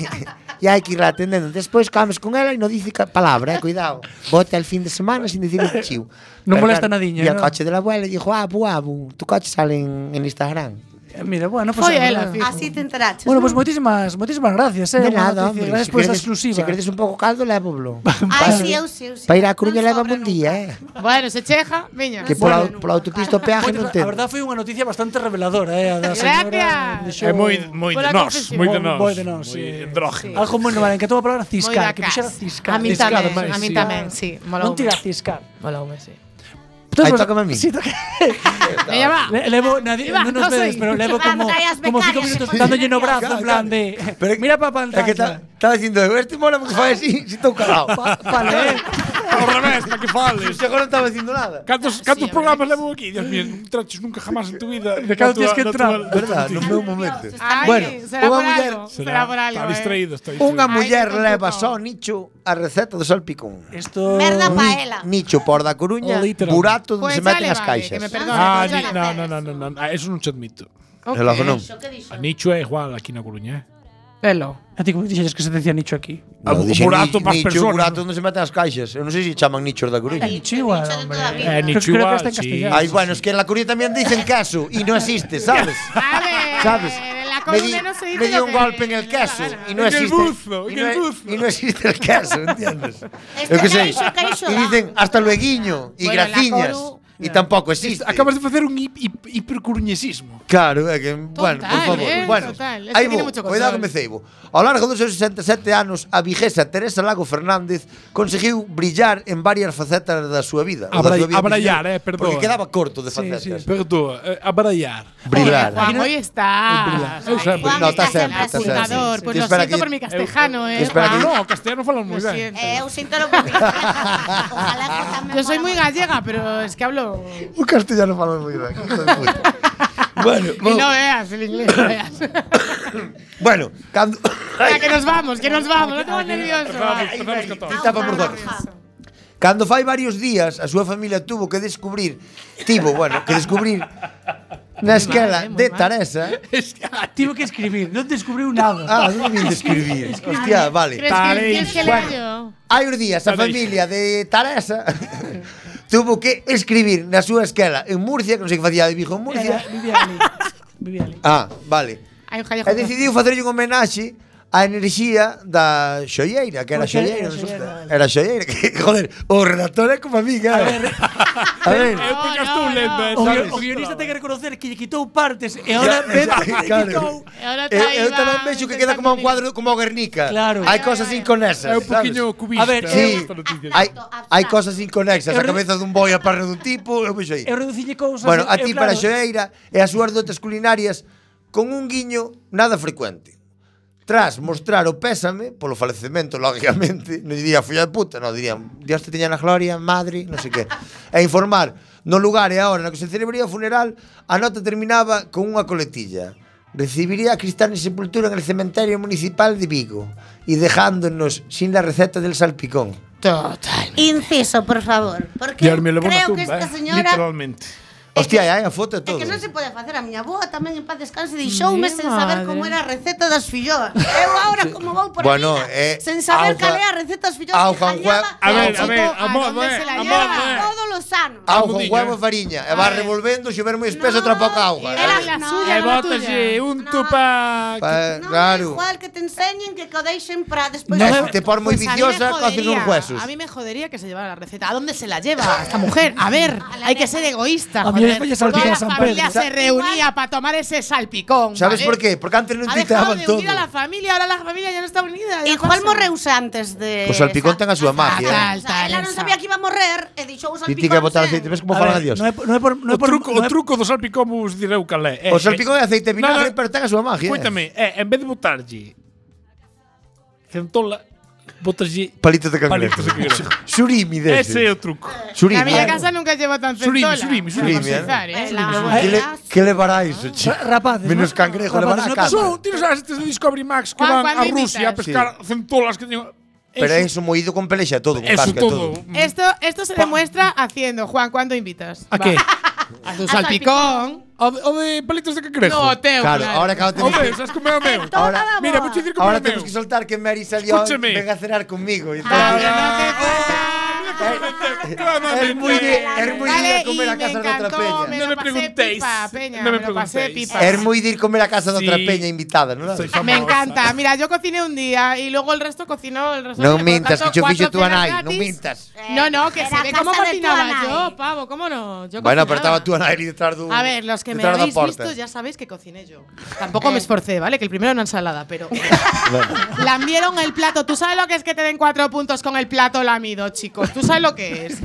Speaker 9: e hai que irla atendendo. Despois comes con ela e non dice ca- palabra, eh, cuidado. Bote al fin de semana sin decir un chiu.
Speaker 1: [LAUGHS] Non molesta nadiña,
Speaker 9: nadiña, E o
Speaker 1: non?
Speaker 9: coche de la abuela dijo, abu, abu, tu coche sale en, en Instagram.
Speaker 1: Eh, Mira, bueno, pues,
Speaker 10: Foi
Speaker 1: eh,
Speaker 10: ela, fijo.
Speaker 8: Así te enteraches.
Speaker 1: Bueno, pois
Speaker 8: ¿no?
Speaker 1: pues, moitísimas, moitísimas gracias, eh.
Speaker 9: de
Speaker 1: Unha
Speaker 9: nada,
Speaker 1: noticia.
Speaker 9: hombre.
Speaker 1: Gracias por esta exclusiva.
Speaker 9: Si queredes un pouco caldo, levo blo.
Speaker 8: Ay, sí, eu sí, eu sí.
Speaker 9: Para ir a Coruña
Speaker 8: Non
Speaker 9: leva
Speaker 8: sobra
Speaker 9: un día, eh.
Speaker 10: Bueno, se cheja, veña.
Speaker 9: Que pola, pola autopista o peaje non ten.
Speaker 1: a verdade foi unha noticia bastante reveladora, eh, a da
Speaker 10: Gracias.
Speaker 1: señora.
Speaker 2: É moi, moi de
Speaker 10: Pola
Speaker 2: nós,
Speaker 10: confesión.
Speaker 2: moi de
Speaker 1: Moi-
Speaker 2: nós.
Speaker 1: moi de nós, sí.
Speaker 2: Moi droga.
Speaker 1: Algo moi normal, en que toda a palabra
Speaker 10: Moi da
Speaker 1: ciscar, que
Speaker 10: casa.
Speaker 1: puxera ciscar.
Speaker 10: A mí
Speaker 2: Ciscar
Speaker 10: tamén,
Speaker 2: máis,
Speaker 10: a mí
Speaker 2: sí.
Speaker 10: tamén, sí. Mola
Speaker 1: Non tira ciscar.
Speaker 10: Mola home, sí.
Speaker 9: Aí tócame a mí.
Speaker 1: Sí, toca.
Speaker 10: Veña, va.
Speaker 1: Le- Levo, nadie,
Speaker 10: Iba,
Speaker 1: non nos
Speaker 10: no
Speaker 1: vedes,
Speaker 10: sei.
Speaker 1: Pues, pero levo
Speaker 8: Iba,
Speaker 1: como,
Speaker 8: trae as
Speaker 1: como cinco
Speaker 8: becarias,
Speaker 1: minutos
Speaker 8: se pone
Speaker 1: dándolle no
Speaker 8: nervioso.
Speaker 1: brazo, en plan de... Mira pa pantalla.
Speaker 9: estaba dicindo, este mola porque fai así, si estou calado.
Speaker 1: Vale, eh.
Speaker 9: [LAUGHS]
Speaker 2: Ao revés, para que fales.
Speaker 9: agora non estaba dicindo nada.
Speaker 2: Cantos, cantos programas levo aquí? Dios mío, non traches nunca jamás en tu vida. De
Speaker 1: cada tienes que entrar.
Speaker 9: Verdad, no meu momento.
Speaker 10: Ai,
Speaker 9: Bueno,
Speaker 10: será
Speaker 9: unha
Speaker 10: por
Speaker 9: muller-
Speaker 10: algo, será por algo, eh.
Speaker 2: Está distraído, está distraído.
Speaker 9: Unha muller
Speaker 10: Ai, que
Speaker 9: leva
Speaker 10: complicado.
Speaker 9: só nicho a receta do salpicón.
Speaker 1: Esto...
Speaker 8: Merda paela.
Speaker 9: Nicho por da Coruña,
Speaker 2: Literal.
Speaker 9: burato onde
Speaker 10: Pois
Speaker 9: se meten
Speaker 10: dale,
Speaker 9: as
Speaker 10: vale,
Speaker 9: caixas.
Speaker 10: que me perdone.
Speaker 2: Ah,
Speaker 10: que
Speaker 2: ni,
Speaker 10: xa
Speaker 2: no,
Speaker 10: la
Speaker 2: no, no,
Speaker 10: tenes.
Speaker 2: no, no, ah, eso non che admito.
Speaker 10: Ok.
Speaker 9: logo non.
Speaker 2: A Nicho é igual aquí na Coruña, eh?
Speaker 10: Pelo.
Speaker 1: A ti como dixeres que se decía nicho aquí?
Speaker 2: Ah, bu-
Speaker 9: dixen
Speaker 2: burato
Speaker 9: ni-
Speaker 2: pa'as
Speaker 9: Nicho,
Speaker 2: persoas.
Speaker 9: burato onde se meten as caixas. Eu non sei se chaman nichos da Coruña.
Speaker 1: nicho igual, hombre.
Speaker 2: É
Speaker 1: Creo-
Speaker 2: Nicho Eh,
Speaker 1: creo que
Speaker 2: igual,
Speaker 1: está en
Speaker 2: sí.
Speaker 1: castellano.
Speaker 9: Ai, bueno, es que en la Coruña tamén dicen queso e non
Speaker 10: [LAUGHS]
Speaker 9: existe, sabes?
Speaker 10: A ver,
Speaker 9: ¿Sabes?
Speaker 10: en la
Speaker 9: Me di,
Speaker 10: columna no se dice
Speaker 9: me di
Speaker 10: lo
Speaker 9: un
Speaker 10: que
Speaker 9: golpe en
Speaker 10: le
Speaker 9: el
Speaker 10: da la
Speaker 9: queso
Speaker 10: gana.
Speaker 9: y no
Speaker 2: En el
Speaker 9: existe
Speaker 2: buzo,
Speaker 9: y
Speaker 2: en
Speaker 9: no
Speaker 2: el
Speaker 9: es-
Speaker 2: buzo.
Speaker 9: y no existe el queso,
Speaker 10: [LAUGHS]
Speaker 9: ¿entiendes?
Speaker 8: Este
Speaker 9: Yo qué sé.
Speaker 8: caixo, caixo
Speaker 9: Y
Speaker 8: da.
Speaker 9: dicen hasta lueguiño
Speaker 10: Bueno,
Speaker 9: y
Speaker 10: la
Speaker 9: graciñas
Speaker 10: Coru-
Speaker 9: y tampoco existe.
Speaker 2: Acabas de facer un hip- hip- hipercoruñesismo.
Speaker 9: Claro, é que, bueno, por favor.
Speaker 10: eh,
Speaker 9: bueno,
Speaker 10: total, es que
Speaker 9: aí
Speaker 10: tiene
Speaker 9: vou,
Speaker 10: mucho
Speaker 9: cuidado que
Speaker 10: control.
Speaker 9: me ceibo. Ao largo dos seus 67 anos, a viguesa Teresa Lago Fernández conseguiu brillar en varias facetas da súa vida. ou da
Speaker 2: Abra-
Speaker 9: súa vida
Speaker 2: abrallar, eh,
Speaker 9: profesional,
Speaker 2: perdoa.
Speaker 9: Porque quedaba corto de facetas.
Speaker 2: Perdoa, eh, a barallar.
Speaker 9: Brillar.
Speaker 10: Juan, hoy Ah, está.
Speaker 2: Eu sempre.
Speaker 8: Juan
Speaker 9: No,
Speaker 8: está
Speaker 9: está
Speaker 8: sempre
Speaker 9: sempre, está sempre.
Speaker 10: apuntador.
Speaker 9: Sí,
Speaker 10: Pues
Speaker 9: sí.
Speaker 10: lo
Speaker 9: Te espera
Speaker 10: siento
Speaker 9: aquí.
Speaker 10: por mi castejano, eh.
Speaker 9: espera aquí.
Speaker 10: Juan.
Speaker 2: No, o castellano falan
Speaker 10: Lo
Speaker 2: moi ben.
Speaker 10: siento.
Speaker 8: Eh, eu
Speaker 10: [LAUGHS]
Speaker 8: sinto por ti. Ojalá que tamén
Speaker 10: Yo soy
Speaker 8: fuera
Speaker 10: muy
Speaker 8: por-
Speaker 10: gallega, pero es que hablo.
Speaker 9: O castellano fala moi ben.
Speaker 3: [LAUGHS]
Speaker 9: hijo de puta. bueno,
Speaker 10: Y
Speaker 9: vou-
Speaker 10: no veas el
Speaker 9: [LAUGHS]
Speaker 10: inglés, no veas.
Speaker 9: bueno, cando
Speaker 10: Ya, que nos vamos, que nos vamos. No te pongas nervioso. Juan.
Speaker 2: Empezamos con todo.
Speaker 9: Tapa por dores. Cando fai varios días, a súa familia tuvo que descubrir, tivo, bueno, que descubrir na
Speaker 10: mal, eh,
Speaker 9: esquela
Speaker 10: moi
Speaker 9: de
Speaker 10: mal.
Speaker 9: Taresa.
Speaker 1: Tivo que escribir, non descubriu nada.
Speaker 9: Ah, non
Speaker 1: [LAUGHS]
Speaker 9: vim
Speaker 10: [LAUGHS]
Speaker 9: de escribir. Hostia, vale.
Speaker 10: ¿Crees que, ¿Quieres que lea
Speaker 9: Bueno.
Speaker 10: yo?
Speaker 9: Hai uns días a familia de Taresa [LAUGHS] tuvo que escribir na súa esquela en Murcia, que non sei que facía de Vigo en
Speaker 10: Eh.
Speaker 9: Murcia.
Speaker 1: Era, vivía ali. Vivía ali.
Speaker 9: Ah, vale.
Speaker 10: Ay, ojalá.
Speaker 9: E decidiu facerlle un homenaxe a enerxía da Xolleira, que era
Speaker 3: Pois era
Speaker 9: Xolleira,
Speaker 3: Xolleira,
Speaker 9: resulta.
Speaker 3: vale.
Speaker 9: Era Xolleira, que, [LAUGHS] joder, o redactor é como a eh. mí, A ver, a ver.
Speaker 2: Eh,
Speaker 1: O, guio- o guionista ten que reconocer que lle quitou partes e ahora
Speaker 9: Ya,
Speaker 1: ve
Speaker 9: ya,
Speaker 1: que lle
Speaker 9: [LAUGHS] claro.
Speaker 1: quitou. [LAUGHS]
Speaker 9: Eu, eu tamén vexo que queda como un cuadro como Guernica.
Speaker 1: Claro.
Speaker 9: Hai cosas inconexas.
Speaker 1: É un poquinho
Speaker 9: sabes?
Speaker 1: cubista, A ver,
Speaker 9: sí,
Speaker 1: eu-
Speaker 9: hai, hai cosas inconexas.
Speaker 1: Eu
Speaker 9: A
Speaker 1: re-
Speaker 9: cabeza dun boi, a perna dun tipo, eu vexo aí.
Speaker 1: Eu reducille cousas.
Speaker 9: Bueno, a
Speaker 1: eu,
Speaker 9: ti
Speaker 1: eh, claro,
Speaker 9: para Xoeira e as súas dotes culinarias con un guiño nada frecuente. Tras mostrar o pésame polo falecemento, lógicamente, non diría folla de puta, non diría Dios te teña na gloria, madre, non sei que. e informar no lugar e a hora na que se celebría o funeral, a nota terminaba con unha coletilla. Recibiría a Cristán en sepultura en el cementerio municipal de Vigo y dejándonos sin la receta del salpicón.
Speaker 10: Total.
Speaker 8: Inciso, por favor. Porque
Speaker 9: Dios me levou na
Speaker 8: creo Tota, que
Speaker 9: tumba,
Speaker 8: esta
Speaker 9: eh,
Speaker 8: señora...
Speaker 2: Literalmente.
Speaker 9: Hostia, hai a foto e
Speaker 8: É que
Speaker 9: todo.
Speaker 8: non se pode facer a miña boa tamén en paz descanse deixoume
Speaker 10: Mi
Speaker 8: sen saber
Speaker 10: madre.
Speaker 8: como era a receta das filloas. Eu agora como vou por
Speaker 9: Bueno,
Speaker 8: a vida,
Speaker 9: eh,
Speaker 8: sen saber cal
Speaker 9: auga-
Speaker 8: é a receta das filloas
Speaker 9: auga-
Speaker 8: que jalaba
Speaker 9: A ver,
Speaker 8: ao
Speaker 9: a ver,
Speaker 8: chico
Speaker 9: a modo,
Speaker 8: donde
Speaker 9: eh,
Speaker 8: se la
Speaker 9: a
Speaker 8: lleva
Speaker 9: modo, eh.
Speaker 8: todos os anos.
Speaker 9: Auga, un huevo e fariña. E vas revolvendo, se ver moi espeso, outra pouca auga.
Speaker 8: Era la suya,
Speaker 2: E
Speaker 8: non a
Speaker 2: bótalle
Speaker 8: tuya.
Speaker 2: un tupa...
Speaker 9: Pa-
Speaker 8: Non,
Speaker 9: claro.
Speaker 8: Igual que te enseñen que co deixen para despois...
Speaker 9: No, se te pon moi
Speaker 10: Pues a mí me
Speaker 9: viciosa, coces
Speaker 10: jodería,
Speaker 9: uns huesos.
Speaker 10: A mí me jodería que se llevara la receta. ¿A dónde se la lleva esta mujer? A ver, hay que ser egoísta.
Speaker 1: A mí me
Speaker 10: joder.
Speaker 1: falla
Speaker 10: Toda
Speaker 1: salpicar
Speaker 10: la
Speaker 1: San Pedro.
Speaker 10: familia
Speaker 1: Sa-
Speaker 10: se reunía para tomar ese salpicón.
Speaker 9: Sabes
Speaker 10: ¿vale?
Speaker 9: por qué? Porque antes non
Speaker 10: Ha dejado
Speaker 9: tuiteaban
Speaker 10: de
Speaker 9: todo.
Speaker 10: unir a la familia, ahora la familia ya no está unida. ya pasa.
Speaker 8: Igual morreuse antes de...
Speaker 9: O salpicón ten Pues a súa magia. eh.
Speaker 10: Ah, Tal, tal,
Speaker 8: Ela non
Speaker 10: esa.
Speaker 8: sabía que iba a morrer e deixou o
Speaker 9: Ti que
Speaker 8: salpicón sen.
Speaker 9: botar aceite, ves como
Speaker 1: A
Speaker 9: falan a
Speaker 1: ver,
Speaker 9: Dios.
Speaker 1: non é, por- non é por, non é
Speaker 2: O
Speaker 1: por,
Speaker 2: truco, o
Speaker 1: non é-
Speaker 2: truco do salpicón vos direu cal é. Eh,
Speaker 9: O salpicón é aceite e vinagre,
Speaker 2: nada.
Speaker 9: pero ten a súa magia. eh.
Speaker 2: Cuéntame, eh, en vez de botarlle centola, botaslle
Speaker 9: Palitos de cangrejo.
Speaker 2: Palitos de cangrejo.
Speaker 9: [LAUGHS] Surimi dese.
Speaker 2: Ese é o truco.
Speaker 10: La
Speaker 9: Surimi.
Speaker 10: miña casa nunca llevó tan
Speaker 2: Surimi,
Speaker 10: centola.
Speaker 2: surimi,
Speaker 10: para
Speaker 9: surimi,
Speaker 10: comenzar, ¿eh?
Speaker 9: Que le, que le varáis, che?
Speaker 1: Rapaces,
Speaker 9: Menos
Speaker 1: ¿no?
Speaker 9: cangrejo, le vará
Speaker 1: Rapaces,
Speaker 9: a
Speaker 1: ¿no?
Speaker 9: casa.
Speaker 2: Tú tienes as de Discovery Max que
Speaker 10: Juan,
Speaker 2: van a
Speaker 10: ¿cuándo
Speaker 2: Rusia a
Speaker 10: invitas?
Speaker 2: pescar centolas que teñen.
Speaker 9: Pero é iso moído con pelexa e todo, con
Speaker 2: Eso
Speaker 9: casca e
Speaker 2: todo.
Speaker 9: todo.
Speaker 10: Esto, esto se demuestra haciendo. Juan, ¿cuándo invitas?
Speaker 2: ¿A
Speaker 10: Va.
Speaker 2: qué?
Speaker 10: [LAUGHS] A tu salpicón.
Speaker 2: O de, o de palitos de cangrejo.
Speaker 10: No, Teo.
Speaker 9: Claro, ahora acabo de
Speaker 2: O meu, sabes como é o meu?
Speaker 9: Ahora,
Speaker 2: Mira, vou te dicir como é
Speaker 9: ahora
Speaker 2: o meu.
Speaker 9: tenemos que soltar que Mary salió y
Speaker 2: Escúchame.
Speaker 9: venga a cenar conmigo. y
Speaker 10: Ah,
Speaker 9: tal.
Speaker 2: Claramente, ah, claramente.
Speaker 9: Es muy de, es muy de ir a
Speaker 10: Vale,
Speaker 9: comer
Speaker 10: y
Speaker 9: a
Speaker 10: me
Speaker 9: casa de otra
Speaker 10: encantó,
Speaker 9: peña.
Speaker 10: me
Speaker 2: No
Speaker 10: lo
Speaker 2: me
Speaker 10: pasé
Speaker 2: preguntéis.
Speaker 10: pipa, peña,
Speaker 2: No me
Speaker 10: me lo pasé
Speaker 2: preguntéis.
Speaker 10: pipa.
Speaker 9: Es muy de ir comer a casa de otra
Speaker 2: Sí.
Speaker 9: peña invitada, ¿no?
Speaker 2: Soy
Speaker 10: Me
Speaker 2: famosa.
Speaker 10: encanta. Mira, yo cociné un día y luego el resto cocinó el resto.
Speaker 9: No
Speaker 10: por
Speaker 9: mintas,
Speaker 10: tanto,
Speaker 9: que yo
Speaker 10: cuatro
Speaker 9: fixo tú a
Speaker 10: cenas
Speaker 9: nai, no
Speaker 10: gratis.
Speaker 9: mintas.
Speaker 10: No, no, que
Speaker 8: Era
Speaker 10: se ve cómo
Speaker 8: casa de tu
Speaker 10: cocinaba
Speaker 8: anai.
Speaker 10: yo, pavo, cómo no. Yo
Speaker 9: Bueno, pero
Speaker 10: cocinaba.
Speaker 9: estaba tú a nai detrás de un-
Speaker 10: A ver, los que me
Speaker 9: detrás da
Speaker 10: habéis
Speaker 9: porta.
Speaker 10: visto ya sabéis que cociné yo. Tampoco me esforcé, ¿vale? Que el primero era una ensalada, pero. [LAUGHS] Lambieron el plato. ¿Tú sabes lo que es que te den cuatro puntos con el plato lamido, chicos? ¿Tú sabes lo que es?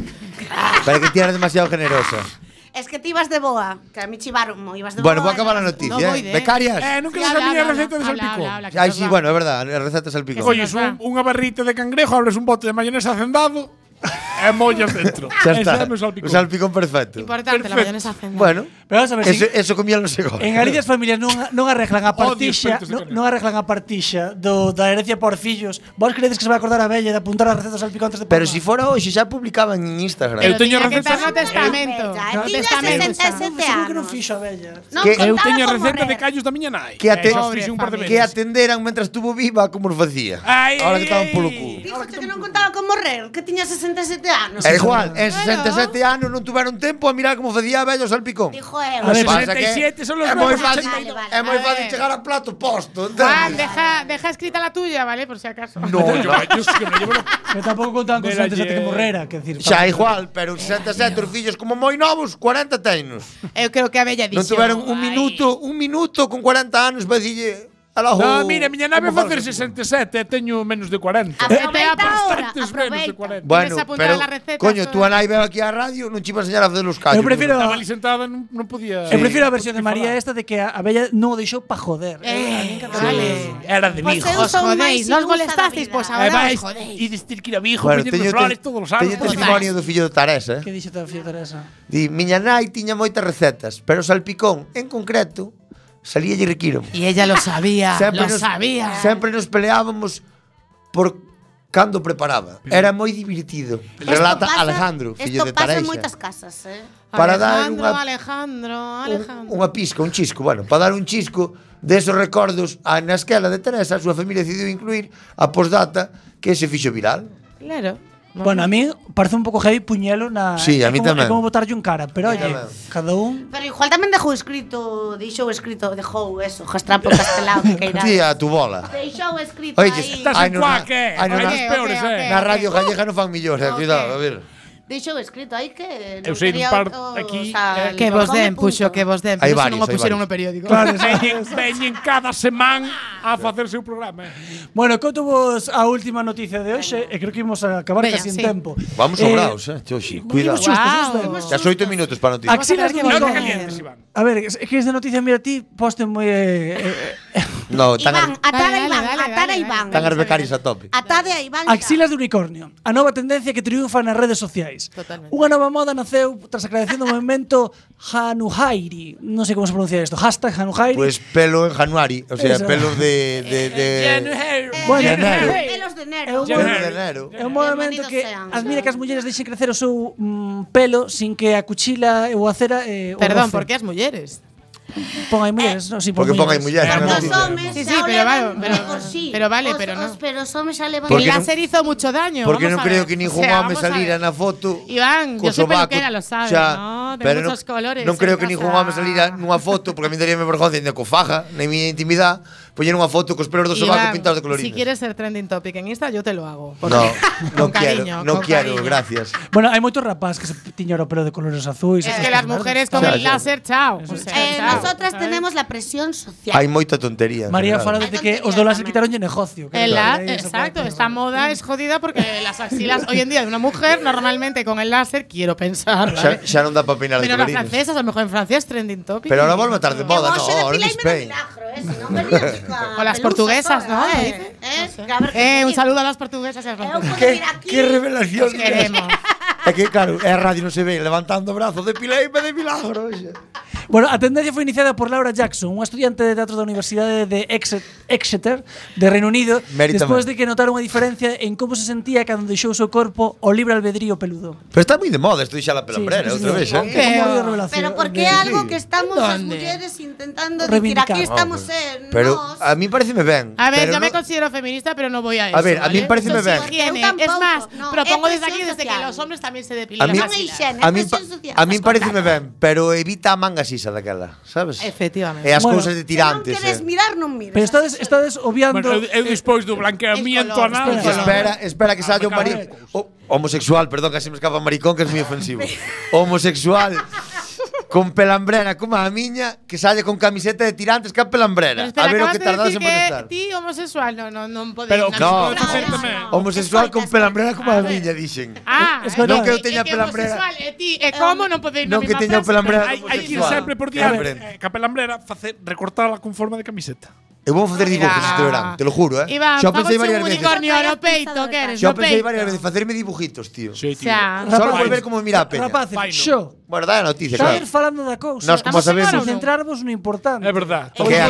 Speaker 9: Para que tienes demasiado generosa.
Speaker 8: [LAUGHS] Es que ti ibas de boa, que a mí chivaron, ibas de
Speaker 9: Bueno,
Speaker 8: boa.
Speaker 9: voy a acabar la
Speaker 8: no.
Speaker 9: noticia.
Speaker 10: No
Speaker 9: ¿eh?
Speaker 10: voy de-
Speaker 9: Becarias.
Speaker 2: Eh, nunca
Speaker 10: Sí,
Speaker 2: se
Speaker 10: habla,
Speaker 2: sabía la
Speaker 10: habla,
Speaker 2: receta de
Speaker 10: habla,
Speaker 2: salpicón.
Speaker 10: habla, habla, que
Speaker 9: Ay,
Speaker 10: nos
Speaker 9: sí,
Speaker 10: va.
Speaker 9: bueno, es verdad, la receta es al
Speaker 10: Que
Speaker 9: pico.
Speaker 10: se
Speaker 2: Oye,
Speaker 10: nos va.
Speaker 2: son unha barrita de cangrejo, abres un bote de mayonesa cendado e mollas dentro.
Speaker 9: Ya
Speaker 2: Ese
Speaker 9: está.
Speaker 2: é o meu salpicón.
Speaker 9: Un salpicón perfecto.
Speaker 10: Importante, la mayonesa hacen.
Speaker 9: Bueno,
Speaker 1: Pero vamos a ver,
Speaker 9: eso,
Speaker 1: si-
Speaker 9: eso comía no sé
Speaker 1: En Galicia as familias non, non arreglan a partixa,
Speaker 2: espíritus de
Speaker 1: non,
Speaker 2: carne.
Speaker 1: non arreglan a partixa do, da herencia por fillos. Vos credes que se vai acordar a bella de apuntar as recetas salpicantes de
Speaker 9: Pero
Speaker 1: Palma?
Speaker 9: si fuera hoy, ya publicaban en Instagram.
Speaker 2: Eu teño
Speaker 10: Tenía que estar no
Speaker 2: recetas-
Speaker 10: testamento.
Speaker 8: Bella,
Speaker 10: No
Speaker 8: eh, tiña
Speaker 10: testamento.
Speaker 8: 67
Speaker 1: Seguro que non
Speaker 8: anos.
Speaker 1: fixo a bella.
Speaker 8: Non
Speaker 9: Que-
Speaker 8: contaba
Speaker 2: Eu teño
Speaker 8: como
Speaker 2: recetas de
Speaker 8: morrer.
Speaker 2: callos da miña nai.
Speaker 9: Que
Speaker 2: Eh,
Speaker 9: ate-
Speaker 2: xa os fixen un par de
Speaker 10: Pobre
Speaker 9: que
Speaker 2: veces.
Speaker 9: atenderan mientras estuvo viva como lo hacía.
Speaker 2: Ay,
Speaker 9: Ahora
Speaker 2: ay,
Speaker 9: que estaban
Speaker 2: ay.
Speaker 9: polo culo.
Speaker 8: Díjote que non contaba con morrer, que tiña 67 anos.
Speaker 9: Es igual, en 67 años no tuvieron tiempo a mirar cómo hacía bello salpicón.
Speaker 8: Dijo eu.
Speaker 1: A ver,
Speaker 9: Pasa que
Speaker 2: 67 son los
Speaker 9: es muy
Speaker 2: nuevos
Speaker 9: fácil,
Speaker 8: 82. Vale,
Speaker 9: es
Speaker 8: vale.
Speaker 9: muy
Speaker 10: A
Speaker 9: fácil
Speaker 10: ver.
Speaker 9: llegar a plato posto.
Speaker 10: Juan, deja, deja escrita la tuya, ¿vale? Por si acaso.
Speaker 9: No,
Speaker 2: Yo,
Speaker 9: no.
Speaker 2: yo sí que me llevo los-
Speaker 1: Que tampouco contaban con
Speaker 2: Del
Speaker 1: antes de que
Speaker 2: ayer.
Speaker 1: morrera, que decir.
Speaker 9: Xa igual, pero 67 os fillos como moi novos, 40 tenos.
Speaker 10: Yo creo que a Bella dice.
Speaker 9: Non tiveron un minuto, un minuto con 40 anos para dille alajo.
Speaker 2: No, mira, miña nave
Speaker 9: como
Speaker 2: vai facer
Speaker 9: faz-
Speaker 2: 67 e teño menos de 40.
Speaker 10: Ah,
Speaker 8: Aproveita ahora,
Speaker 2: Bastantes menos de
Speaker 8: aproveita.
Speaker 2: 40.
Speaker 9: Bueno,
Speaker 10: Tienes apuntada
Speaker 9: pero,
Speaker 10: la receta,
Speaker 9: coño,
Speaker 10: todo.
Speaker 9: tú a nai veo aquí a radio, non chiva enseñar a facer os callos.
Speaker 1: Eu prefiero
Speaker 2: Estaba ali sentada, non, non podía...
Speaker 1: Eu prefiro a versión de
Speaker 2: falar.
Speaker 1: María esta de que a a bella non o deixou pa joder.
Speaker 10: Eh,
Speaker 2: Sí,
Speaker 10: vale.
Speaker 2: Era de
Speaker 8: Pois
Speaker 2: mi hijo.
Speaker 8: eu
Speaker 10: Os
Speaker 8: son
Speaker 10: jodéis,
Speaker 8: máis
Speaker 10: nos
Speaker 8: ilusa da
Speaker 10: molestasteis,
Speaker 8: vida.
Speaker 10: pues
Speaker 2: E
Speaker 10: ahora
Speaker 2: vais
Speaker 10: os jodéis.
Speaker 2: e dicir que era mi hijo,
Speaker 9: Bueno,
Speaker 2: poñerme flores todos os anos.
Speaker 9: teño testimonio do fillo de eh. Taresa.
Speaker 1: Que dixo toda a fia Teresa?
Speaker 9: Di, miña nai tiña moitas recetas, pero o salpicón, en concreto, salía lle requiro.
Speaker 10: Y ella lo sabía, lo sabía.
Speaker 9: Sempre nos peleábamos por cando preparaba. Era moi divertido.
Speaker 8: Esto
Speaker 9: Relata
Speaker 8: pasa-
Speaker 9: Alejandro, fillo
Speaker 8: esto
Speaker 9: de
Speaker 8: pasa
Speaker 9: Tareixa.
Speaker 8: en moitas casas, eh.
Speaker 9: Para dar
Speaker 10: Alejandro,
Speaker 9: unha,
Speaker 10: Alejandro,
Speaker 9: un,
Speaker 10: Alejandro.
Speaker 9: unha pisca, un chisco, bueno, para dar un chisco desos recordos a na esquela de Teresa, a súa familia decidiu incluir a postdata que se fixo viral.
Speaker 10: Claro.
Speaker 1: Bueno, a mí parece un pouco heavy puñelo na
Speaker 9: Sí, a
Speaker 1: é
Speaker 9: mí
Speaker 1: como,
Speaker 9: tamén.
Speaker 1: É como botarlle un cara, pero
Speaker 9: A mí
Speaker 1: oye,
Speaker 9: tamén.
Speaker 1: cada un
Speaker 8: Pero igual tamén dejou escrito, deixou escrito, dejou eso, jastrapo castelao que caerá.
Speaker 9: Sí, a tu bola.
Speaker 8: Deixou escrito
Speaker 9: Oye,
Speaker 8: aí.
Speaker 9: estás en cuaque. Ay, no,
Speaker 8: Ok,
Speaker 9: nas
Speaker 8: ok,
Speaker 9: peores,
Speaker 8: ok,
Speaker 9: eh.
Speaker 8: ok.
Speaker 9: Na radio gallega non fan millores,
Speaker 8: Ok.
Speaker 9: cuidado, a ver.
Speaker 8: Deixou escrito aí que
Speaker 9: Eu sei dun par
Speaker 8: aquí
Speaker 10: Que vos den, puxo, que vos den.
Speaker 9: Hai
Speaker 10: Pero eso non
Speaker 9: varios,
Speaker 10: o
Speaker 9: hai
Speaker 10: puxeron no
Speaker 9: varios.
Speaker 10: periódico.
Speaker 1: Claro,
Speaker 2: veñen, veñen cada semana a facer seu programa.
Speaker 1: Bueno, conto vos a última noticia de hoxe E creo que imos a acabar
Speaker 2: Veña,
Speaker 1: casi en
Speaker 2: sí.
Speaker 1: tempo
Speaker 9: Vamos
Speaker 1: Eh,
Speaker 9: sobraos, eh, Choxi, cuidado.
Speaker 1: imos xustos, Guau. isto
Speaker 9: Ya
Speaker 1: é.
Speaker 9: son oito minutos para noticias.
Speaker 1: Axilas
Speaker 2: que
Speaker 1: dun
Speaker 2: volver.
Speaker 1: balcón.
Speaker 2: Non te calientes, Iván.
Speaker 1: A ver, es es que es de noticia, mira ti, poste moi... Eh, eh,
Speaker 9: No,
Speaker 8: Iván,
Speaker 9: tan
Speaker 8: atara Iván, atara Iván.
Speaker 9: tan as becarias a tope.
Speaker 8: Atade a Iván.
Speaker 1: Axilas de unicornio, a nova tendencia que triunfa nas redes sociais.
Speaker 8: Totalmente.
Speaker 1: Unha nova moda naceu tras a creación do movimento Hanuhairi. Non sei como se pronuncia isto. Hashtag Hanuhairi.
Speaker 9: Pues pelo en Januari, o sea,
Speaker 1: Eso.
Speaker 9: pelos de de de
Speaker 1: Bueno,
Speaker 9: Januario.
Speaker 8: Pelos de enero.
Speaker 9: Pelos de enero.
Speaker 1: É un movimento que admira que as mulleres deixen crecer o seu mm, pelo sin que a cuchila ou a cera eh, o
Speaker 10: Perdón,
Speaker 1: roce.
Speaker 10: por Eh, que as mulleres?
Speaker 1: Pon aí mulleres, non, si
Speaker 9: Porque pon aí mulleres,
Speaker 1: Claro.
Speaker 9: non
Speaker 8: Os homes
Speaker 10: Sí, sí,
Speaker 8: sí, xa o
Speaker 10: pero
Speaker 8: levan
Speaker 10: vale, pero-
Speaker 8: lejos, sí.
Speaker 10: pero vale,
Speaker 8: Os-
Speaker 10: pero no.
Speaker 8: os- Pero os homes xa levan
Speaker 9: Porque
Speaker 10: El
Speaker 9: non-
Speaker 10: láser hizo mucho daño.
Speaker 9: Porque
Speaker 10: vamos a
Speaker 9: non creo
Speaker 10: ver.
Speaker 9: que
Speaker 10: O
Speaker 9: ningún
Speaker 10: sea,
Speaker 9: home
Speaker 10: vamos a ver.
Speaker 9: salira na foto.
Speaker 10: Iván,
Speaker 9: co
Speaker 10: yo soy
Speaker 9: sobaco,
Speaker 10: peluquera, lo sabes,
Speaker 9: xa,
Speaker 10: ¿no? De
Speaker 9: pero
Speaker 10: muchos
Speaker 9: non-
Speaker 10: colores
Speaker 9: Non
Speaker 10: en
Speaker 9: creo que
Speaker 10: casa.
Speaker 9: ningún home salira nunha foto, porque a mí daríame vergonza ainda co faja, na miña intimidade, poñer unha foto cos pelos do sobaco
Speaker 10: Iván,
Speaker 9: pintados de colorines.
Speaker 10: Si quieres ser trending topic en Insta, yo te lo hago.
Speaker 9: No, no
Speaker 10: Con
Speaker 9: quiero,
Speaker 10: cariño,
Speaker 9: no
Speaker 10: con
Speaker 9: quiero,
Speaker 10: cariño.
Speaker 9: gracias.
Speaker 1: Bueno, hai moitos rapaz que se tiñan o pelo de colores azuis.
Speaker 10: Es
Speaker 1: e
Speaker 10: que
Speaker 1: cosas
Speaker 10: las
Speaker 1: verdes.
Speaker 10: mujeres con
Speaker 9: Ya,
Speaker 10: el
Speaker 9: ya.
Speaker 10: láser, chao. O sea,
Speaker 8: Eh,
Speaker 10: chao.
Speaker 8: nosotras tenemos la presión social.
Speaker 9: Hai moita tontería. en
Speaker 1: María
Speaker 9: general.
Speaker 1: Farah dice que os dólares quitaron el negocio. que
Speaker 10: El la-
Speaker 1: era por ahí, eso por
Speaker 10: exacto,
Speaker 1: aquí.
Speaker 10: esta moda es jodida porque las axilas hoy en día de una mujer normalmente con el láser quiero pensar. ¿vale?
Speaker 9: Xa, xa non dá para opinar de
Speaker 10: Pero las
Speaker 9: colorines.
Speaker 10: francesas, a lo mejor en Francia es trending topic.
Speaker 9: Pero ahora volve a estar de moda,
Speaker 8: vos
Speaker 9: no,
Speaker 8: se
Speaker 9: ahora en
Speaker 8: depiláis menos
Speaker 9: Spain.
Speaker 8: milagro, eh, si non venía
Speaker 9: [LAUGHS]
Speaker 8: aquí coa
Speaker 10: O las
Speaker 8: pelusa
Speaker 10: portuguesas,
Speaker 8: toda,
Speaker 10: ¿no?
Speaker 8: eh.
Speaker 10: Dicen.
Speaker 8: Eh, a ver,
Speaker 10: Eh, un saludo a las portuguesas y a las
Speaker 8: eu
Speaker 10: francesas.
Speaker 8: podo ir aquí.
Speaker 9: Que revelación.
Speaker 10: Os queremos.
Speaker 9: É que claro, é a radio non se ve levantando brazos, depileime de milagro.
Speaker 1: Bueno, a tendencia foi iniciada por Laura Jackson, unha estudiante de teatro da Universidade de Exe- Exeter, de Reino Unido,
Speaker 9: Mérito
Speaker 1: despois
Speaker 9: man.
Speaker 1: de que notara unha diferencia en como se sentía cando deixou o seu corpo o libre albedrío peludo.
Speaker 9: Pero está moi de moda isto de xa la pelambrera
Speaker 1: sí, sí,
Speaker 9: outra
Speaker 1: sí.
Speaker 9: vez,
Speaker 1: Como
Speaker 9: eh.
Speaker 1: unha
Speaker 10: Pero-
Speaker 1: revelación
Speaker 8: Pero porque
Speaker 1: de-
Speaker 8: é algo que estamos as
Speaker 10: ¿Dónde?
Speaker 8: mulleres intentando decir,
Speaker 1: Reivindicar.
Speaker 8: aquí
Speaker 9: Ah,
Speaker 8: estamos, eh,
Speaker 9: Pero
Speaker 8: nós.
Speaker 9: a mí pareceme ben.
Speaker 10: A ver,
Speaker 9: pero
Speaker 10: yo me
Speaker 9: no-
Speaker 10: considero feminista, pero no voy a eso.
Speaker 9: A ver, a mí
Speaker 10: ¿vale?
Speaker 9: me parece
Speaker 10: Eso es
Speaker 9: bien.
Speaker 10: higiene.
Speaker 8: Yo tampoco,
Speaker 10: Es más,
Speaker 8: no,
Speaker 10: propongo
Speaker 8: es
Speaker 10: desde aquí
Speaker 8: presión
Speaker 10: desde que
Speaker 8: social.
Speaker 10: los hombres también se
Speaker 9: A
Speaker 10: depilan.
Speaker 9: mí,
Speaker 10: las
Speaker 8: Non é
Speaker 10: axilas.
Speaker 8: higiene,
Speaker 9: a
Speaker 8: é
Speaker 9: mí,
Speaker 8: presión social.
Speaker 9: a mí
Speaker 8: Estás
Speaker 9: pareceme ben, pero evita a manga sisa daquela, sabes?
Speaker 10: Efectivamente.
Speaker 9: E as
Speaker 1: Bueno,
Speaker 9: cousas
Speaker 8: Se
Speaker 9: de
Speaker 8: non
Speaker 9: tirantes.
Speaker 8: queres
Speaker 9: eh.
Speaker 8: mirar, non miras.
Speaker 1: Pero estades, estades obviando...
Speaker 2: Bueno, eu, eu despois do blanqueamiento
Speaker 10: El color,
Speaker 2: anal.
Speaker 1: espera.
Speaker 9: Espera, espera que
Speaker 2: Ah,
Speaker 9: saia un
Speaker 2: me cago
Speaker 9: maricón homosexual, perdón, casi me escapa maricón que es muy
Speaker 2: [LAUGHS]
Speaker 9: ofensivo. homosexual con pelambrera como a miña que sale con camiseta de tirantes que a
Speaker 10: Pero
Speaker 9: pelambrera.
Speaker 10: espera,
Speaker 9: a ver o
Speaker 10: acabas
Speaker 9: que
Speaker 10: de
Speaker 9: tardas en
Speaker 10: decir que
Speaker 9: contestar.
Speaker 10: ti homosexual, no, no, no podéis.
Speaker 2: Pero
Speaker 10: no,
Speaker 2: que se
Speaker 9: No.
Speaker 2: pode facer tamén.
Speaker 9: Homosexual con pelambrera como a miña, dixen.
Speaker 10: Ah,
Speaker 1: Es que
Speaker 9: non que eu
Speaker 10: é
Speaker 9: teña
Speaker 10: é
Speaker 9: pelambrera.
Speaker 10: homosexual, é ti, é como non podeis
Speaker 9: Non
Speaker 10: na
Speaker 9: que
Speaker 10: mesma
Speaker 9: teña
Speaker 10: frase.
Speaker 9: pelambrera.
Speaker 2: Hai, hai que ir
Speaker 9: Homosexual.
Speaker 2: sempre por diante.
Speaker 9: Sempre.
Speaker 2: Eh, capelambrera, facer, recortala con forma de camiseta.
Speaker 9: Eu vou facer dibujos
Speaker 10: Mira.
Speaker 9: este verán, te lo juro, eh.
Speaker 10: Iván,
Speaker 9: Xa o
Speaker 10: fago un
Speaker 9: pensei varias veces.
Speaker 10: unicornio
Speaker 8: veces.
Speaker 10: no peito, que eres, Pues no
Speaker 9: Xa o pensei
Speaker 10: peito.
Speaker 9: varias veces facerme dibujitos, tío.
Speaker 2: Sí,
Speaker 10: O sea,
Speaker 9: Só
Speaker 1: Rapaz.
Speaker 9: por ver como mira a peña.
Speaker 1: Rapaces,
Speaker 2: Faino.
Speaker 1: xo,
Speaker 9: Bueno, dá a noticia,
Speaker 1: estar
Speaker 9: claro.
Speaker 1: falando da cousa.
Speaker 9: Nós
Speaker 10: Estamos
Speaker 9: como
Speaker 10: en
Speaker 9: sabemos,
Speaker 10: hora ou non?
Speaker 1: Centrarvos no importante.
Speaker 2: É verdad.
Speaker 1: O
Speaker 9: Que é a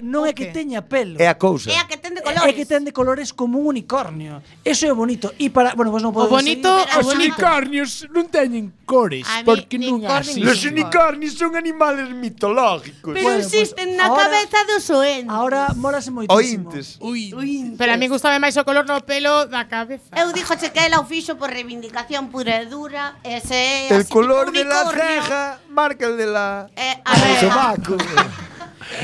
Speaker 9: cousa.
Speaker 1: non é que
Speaker 10: Ok.
Speaker 1: teña pelo.
Speaker 9: é a cousa.
Speaker 8: É a que ten de
Speaker 1: É
Speaker 8: colores.
Speaker 1: que ten de colores como un unicornio. Eso é o bonito. E para, bueno, vos
Speaker 10: o
Speaker 1: non podedes
Speaker 10: bonito, o
Speaker 1: seguir.
Speaker 2: Os
Speaker 10: bonito.
Speaker 2: unicornios non teñen cores,
Speaker 10: A mí,
Speaker 2: porque non
Speaker 10: unicornio
Speaker 2: así.
Speaker 10: Los
Speaker 9: unicornios son animales mitológicos.
Speaker 8: Pero
Speaker 1: Bueno,
Speaker 8: existen
Speaker 1: pues
Speaker 8: na
Speaker 1: ahora-
Speaker 8: cabeza dos oentes.
Speaker 1: Ahora molase moitísimo.
Speaker 9: Ointes.
Speaker 2: Ui,
Speaker 10: Pero a mí gustaba máis o color no pelo da cabeza.
Speaker 8: Eu dixo que ela o fixo por reivindicación pura e dura. Ese
Speaker 9: El color de la ceja marca el de la.
Speaker 8: Eh, a
Speaker 9: del
Speaker 8: ver,
Speaker 9: sobaco.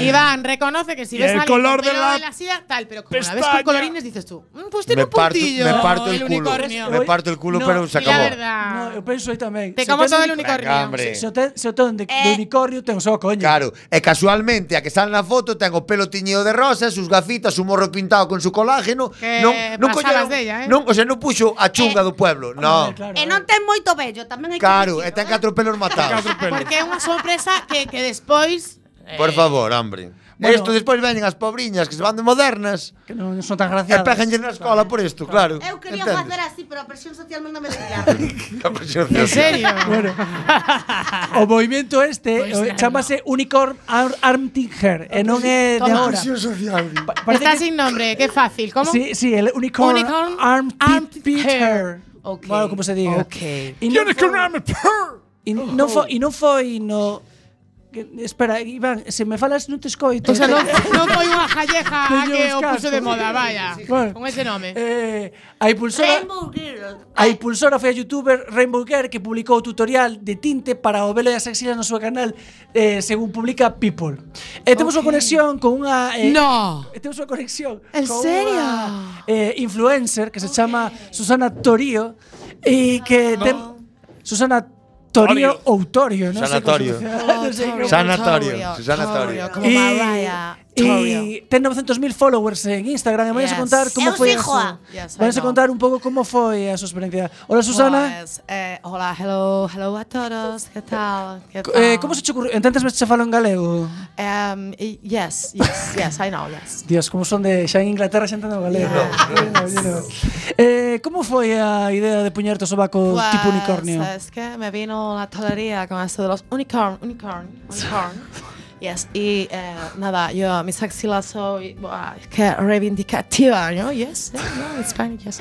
Speaker 10: Iván, reconoce que si
Speaker 2: Y
Speaker 10: ves
Speaker 2: el
Speaker 10: a alguien
Speaker 2: color
Speaker 10: con
Speaker 2: de
Speaker 10: pelo
Speaker 2: la
Speaker 10: de la silla, tal, pero como la ves
Speaker 2: pestaña.
Speaker 10: con colorines dices tú, "Mm, pues tiene
Speaker 9: me,
Speaker 10: un
Speaker 9: parto,
Speaker 10: puntillo.
Speaker 9: me parto el, culo.
Speaker 10: unicornio.
Speaker 9: Me parto el culo,
Speaker 1: No,
Speaker 9: pero se
Speaker 10: Y la
Speaker 9: acabó.
Speaker 10: verdad.
Speaker 1: No, eu penso aí tamén.
Speaker 10: te
Speaker 1: Se
Speaker 10: como
Speaker 1: ten
Speaker 10: todo
Speaker 1: de-
Speaker 10: el unicornio.
Speaker 9: Venga, hombre.
Speaker 1: Se, se o ten, se o ten de, de
Speaker 8: Eh.
Speaker 1: unicornio ten só coño.
Speaker 9: Claro, e casualmente a que sale na foto ten o pelo tiñido de rosa, sus gafitas, su morro pintado con su colágeno,
Speaker 10: Que
Speaker 9: non non
Speaker 10: pasabas della,
Speaker 9: colleron,
Speaker 10: eh.
Speaker 9: non, o sea, non puxo a chunga do pueblo, no.
Speaker 1: Hombre, claro.
Speaker 8: E
Speaker 1: eh.
Speaker 8: non ten moito vello, tamén hai que
Speaker 9: Claro, e
Speaker 8: dicilo,
Speaker 9: ten
Speaker 8: eh.
Speaker 9: catro pelos matados.
Speaker 10: Porque é unha sorpresa que, que despois
Speaker 9: Por favor, hombre.
Speaker 1: Bueno.
Speaker 9: Isto despois veñen as pobriñas que se van de modernas
Speaker 1: Que non son
Speaker 9: e
Speaker 1: tan graciados.
Speaker 9: pégenlle na escola por isto, claro.
Speaker 8: Eu quería facer así, pero a presión social non
Speaker 1: [LAUGHS]
Speaker 8: me deixa.
Speaker 10: En serio.
Speaker 1: Bueno.
Speaker 10: [LAUGHS]
Speaker 1: o movimento este
Speaker 10: Pois
Speaker 1: o-
Speaker 10: Pues nada.
Speaker 1: chamase Unicorn Ar Armting Hair e non é de agora.
Speaker 9: social.
Speaker 1: Pa-
Speaker 10: Está
Speaker 1: Parece que
Speaker 10: sin nombre, qué fácil. ¿Cómo?
Speaker 1: Sí, sí, el Unicorn,
Speaker 10: Unicorn
Speaker 1: Armpit,
Speaker 10: Armpit
Speaker 1: Hair.
Speaker 10: Hair. Ok.
Speaker 1: Bueno, como se diga.
Speaker 10: Ok. Oh.
Speaker 1: E non
Speaker 2: Unicorn
Speaker 1: foi-
Speaker 2: Armor.
Speaker 1: E non foi, e non foi no que- Espera, Iván, se me falas no te escoito.
Speaker 10: O sea,
Speaker 1: [LAUGHS]
Speaker 10: non, non foi unha jalleja a
Speaker 1: Teño
Speaker 10: que
Speaker 1: os
Speaker 10: o puso Ah,
Speaker 1: cascos.
Speaker 10: de moda, vaya.
Speaker 1: Bueno.
Speaker 10: Con ese nome.
Speaker 1: Eh, a impulsora A impulsora foi a youtuber Rainbow Girl que publicou o tutorial de tinte para o velo e as axilas no seu canal eh, según publica People. E temos unha conexión con
Speaker 2: Ah,
Speaker 1: unha eh,
Speaker 10: No.
Speaker 1: e Temos unha conexión
Speaker 10: En
Speaker 1: con
Speaker 10: serio?
Speaker 1: unha, eh, influencer que se chama Susana Torío e que ten Susana Torío ou Torio, non sei como se
Speaker 9: Sanatorio.
Speaker 1: pronuncia. Non sei como-
Speaker 9: Sanatorio. Sanatorio.
Speaker 10: Como Mariah.
Speaker 1: Y ten 900.000 followers en Instagram. E vamos a
Speaker 10: Yes.
Speaker 1: contar
Speaker 10: Eu
Speaker 1: como foi a
Speaker 10: fijo.
Speaker 8: ah.
Speaker 1: súa.
Speaker 10: Yes, I
Speaker 1: Vamos a
Speaker 10: know.
Speaker 1: contar un pouco como foi a súa experiencia. Hola Susana.
Speaker 10: Pues, eh, hola, hello, hello a todos. ¿Qué tal? ¿Qué tal?
Speaker 1: Eh, como se che ocurriu? En tantas veces se falo en galego.
Speaker 10: Um, y- yes, yes, yes, I know, yes.
Speaker 1: Dios, como son de xa en Inglaterra xente no galego. [LAUGHS] You know, you know. Eh, como foi a idea de puñerte o sobaco
Speaker 10: Pues, eh,
Speaker 1: tipo unicornio?
Speaker 10: Es que me vino la tolería con esto de los unicorn, unicorn, unicorn.
Speaker 1: [LAUGHS]
Speaker 10: Yes, y eh, nada, yo mis axilas soy buah, es que reivindicativa, ¿no? Yes, eh, no, it's fine, yes.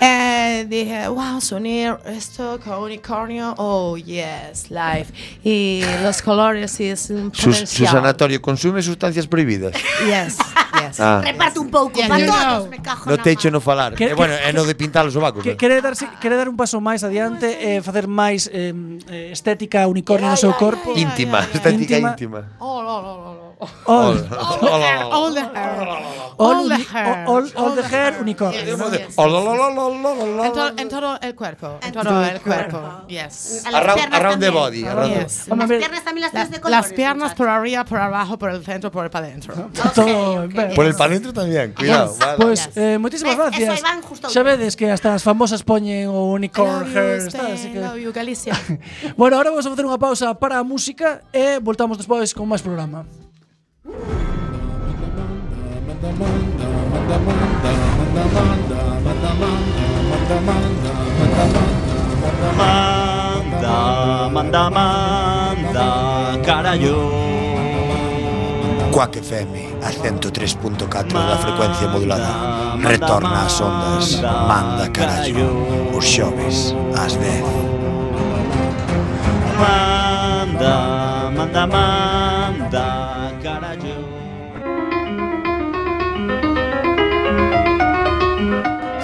Speaker 10: Eh, dije, wow, unir esto con unicornio, oh yes, life. Y los colores y es un
Speaker 9: Su,
Speaker 10: potencial.
Speaker 9: su sanatorio consume sustancias prohibidas.
Speaker 8: [LAUGHS]
Speaker 10: Yes, yes.
Speaker 9: Ah.
Speaker 8: Reparto un pouco
Speaker 10: Yeah,
Speaker 8: para
Speaker 10: you
Speaker 8: todos,
Speaker 10: know.
Speaker 8: me cajo
Speaker 9: No
Speaker 8: na
Speaker 9: te
Speaker 8: man.
Speaker 9: echo no falar.
Speaker 1: Que-
Speaker 9: E bueno,
Speaker 1: que-
Speaker 9: é no de pintar os sobacos.
Speaker 1: Que,
Speaker 9: non?
Speaker 1: quere, darse, quere dar un paso máis adiante e eh, facer máis eh, eh, estética unicornio no seu corpo?
Speaker 9: Íntima,
Speaker 10: Ay, ay, ay.
Speaker 9: estética
Speaker 1: Íntima.
Speaker 9: íntima.
Speaker 10: Oh, no, no, no, no.
Speaker 1: All,
Speaker 10: All the hair.
Speaker 1: all, uni- all, all the hair unicornio.
Speaker 10: Yes,
Speaker 1: ¿no?
Speaker 10: yes.
Speaker 9: Oh, lo, lo, lo, lo, lo, lo, lo.
Speaker 10: En, to- en todo el cuerpo. En todo el cuerpo. Yes.
Speaker 8: A las
Speaker 9: Around,
Speaker 8: piernas
Speaker 9: around
Speaker 8: también.
Speaker 9: the body. around the-
Speaker 10: Yes.
Speaker 1: Vamos a
Speaker 8: Las
Speaker 1: ver.
Speaker 8: piernas también las
Speaker 10: Las,
Speaker 8: tienes de colores.
Speaker 10: las piernas por
Speaker 8: muchacho.
Speaker 10: arriba, por abajo, por el centro, por el para adentro.
Speaker 1: Todo
Speaker 8: ok.
Speaker 1: ben.
Speaker 9: Por el palentro también, cuidado. vale.
Speaker 1: Pois, eh, moitísimas
Speaker 8: Ves, eso
Speaker 1: gracias.
Speaker 8: aí van justo
Speaker 1: Xa vedes que hasta as famosas poñen o unicorn hair,
Speaker 12: este,
Speaker 1: tal, así que...
Speaker 10: Love you, Galicia.
Speaker 1: [LAUGHS] Bueno, ahora vamos a facer unha pausa para a música e voltamos despois con máis programa.
Speaker 11: Manda, manda, manda, carallo.
Speaker 9: Quack FM, a 103.4 da frecuencia modulada. Retorna ás ondas, manda carallo. Os xoves, ás 10.
Speaker 11: Manda, manda, manda, carallo.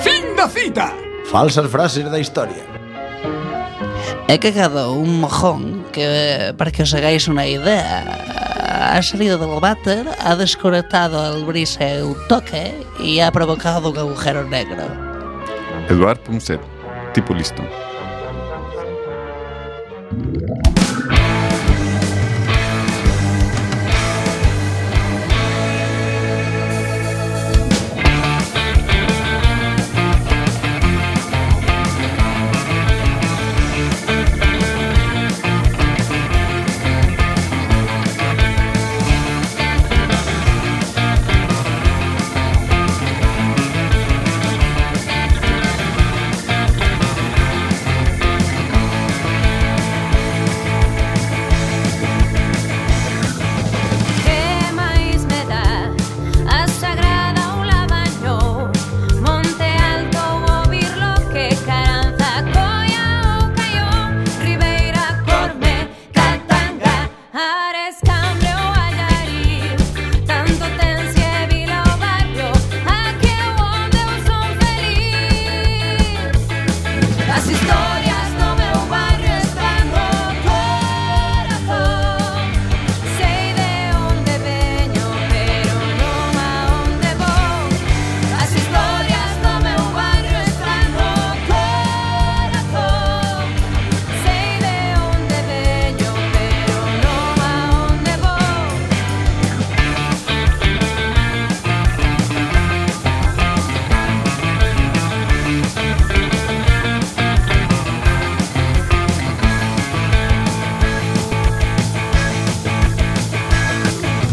Speaker 3: Fin da cita.
Speaker 7: Falsas frases da historia.
Speaker 13: He cagado un mojón que, perquè us hagáis una idea, ha salido del váter, ha desconectado el brise un toque y ha provocado un agujero negro.
Speaker 4: Eduard Punset, tipo listo.
Speaker 14: Que máis me dá a sagrada ou labañou Monte alto o virlo que caranza coia o caió Ribeira, Corme, Catanga, Ares, Cambre ou Allariz Tanto tense vila o barrio a que onde eu son feliz As historias do meu barrio están no corazón Sei de onde veño, pero non a onde vou As historias do meu barrio están no corazón Sei de onde veño, pero non a onde vou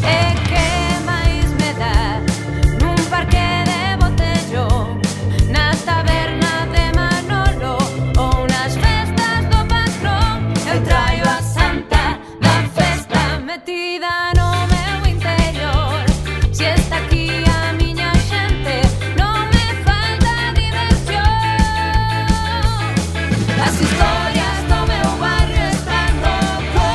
Speaker 14: E que máis me dá Nun parque de botellón Na taberna de Manolo Ou nas festas do patrón Eu traio a santa da festa Metida no meu interior Se está aquí a miña xente Non me falta diversión As historias do meu barrio están no corazón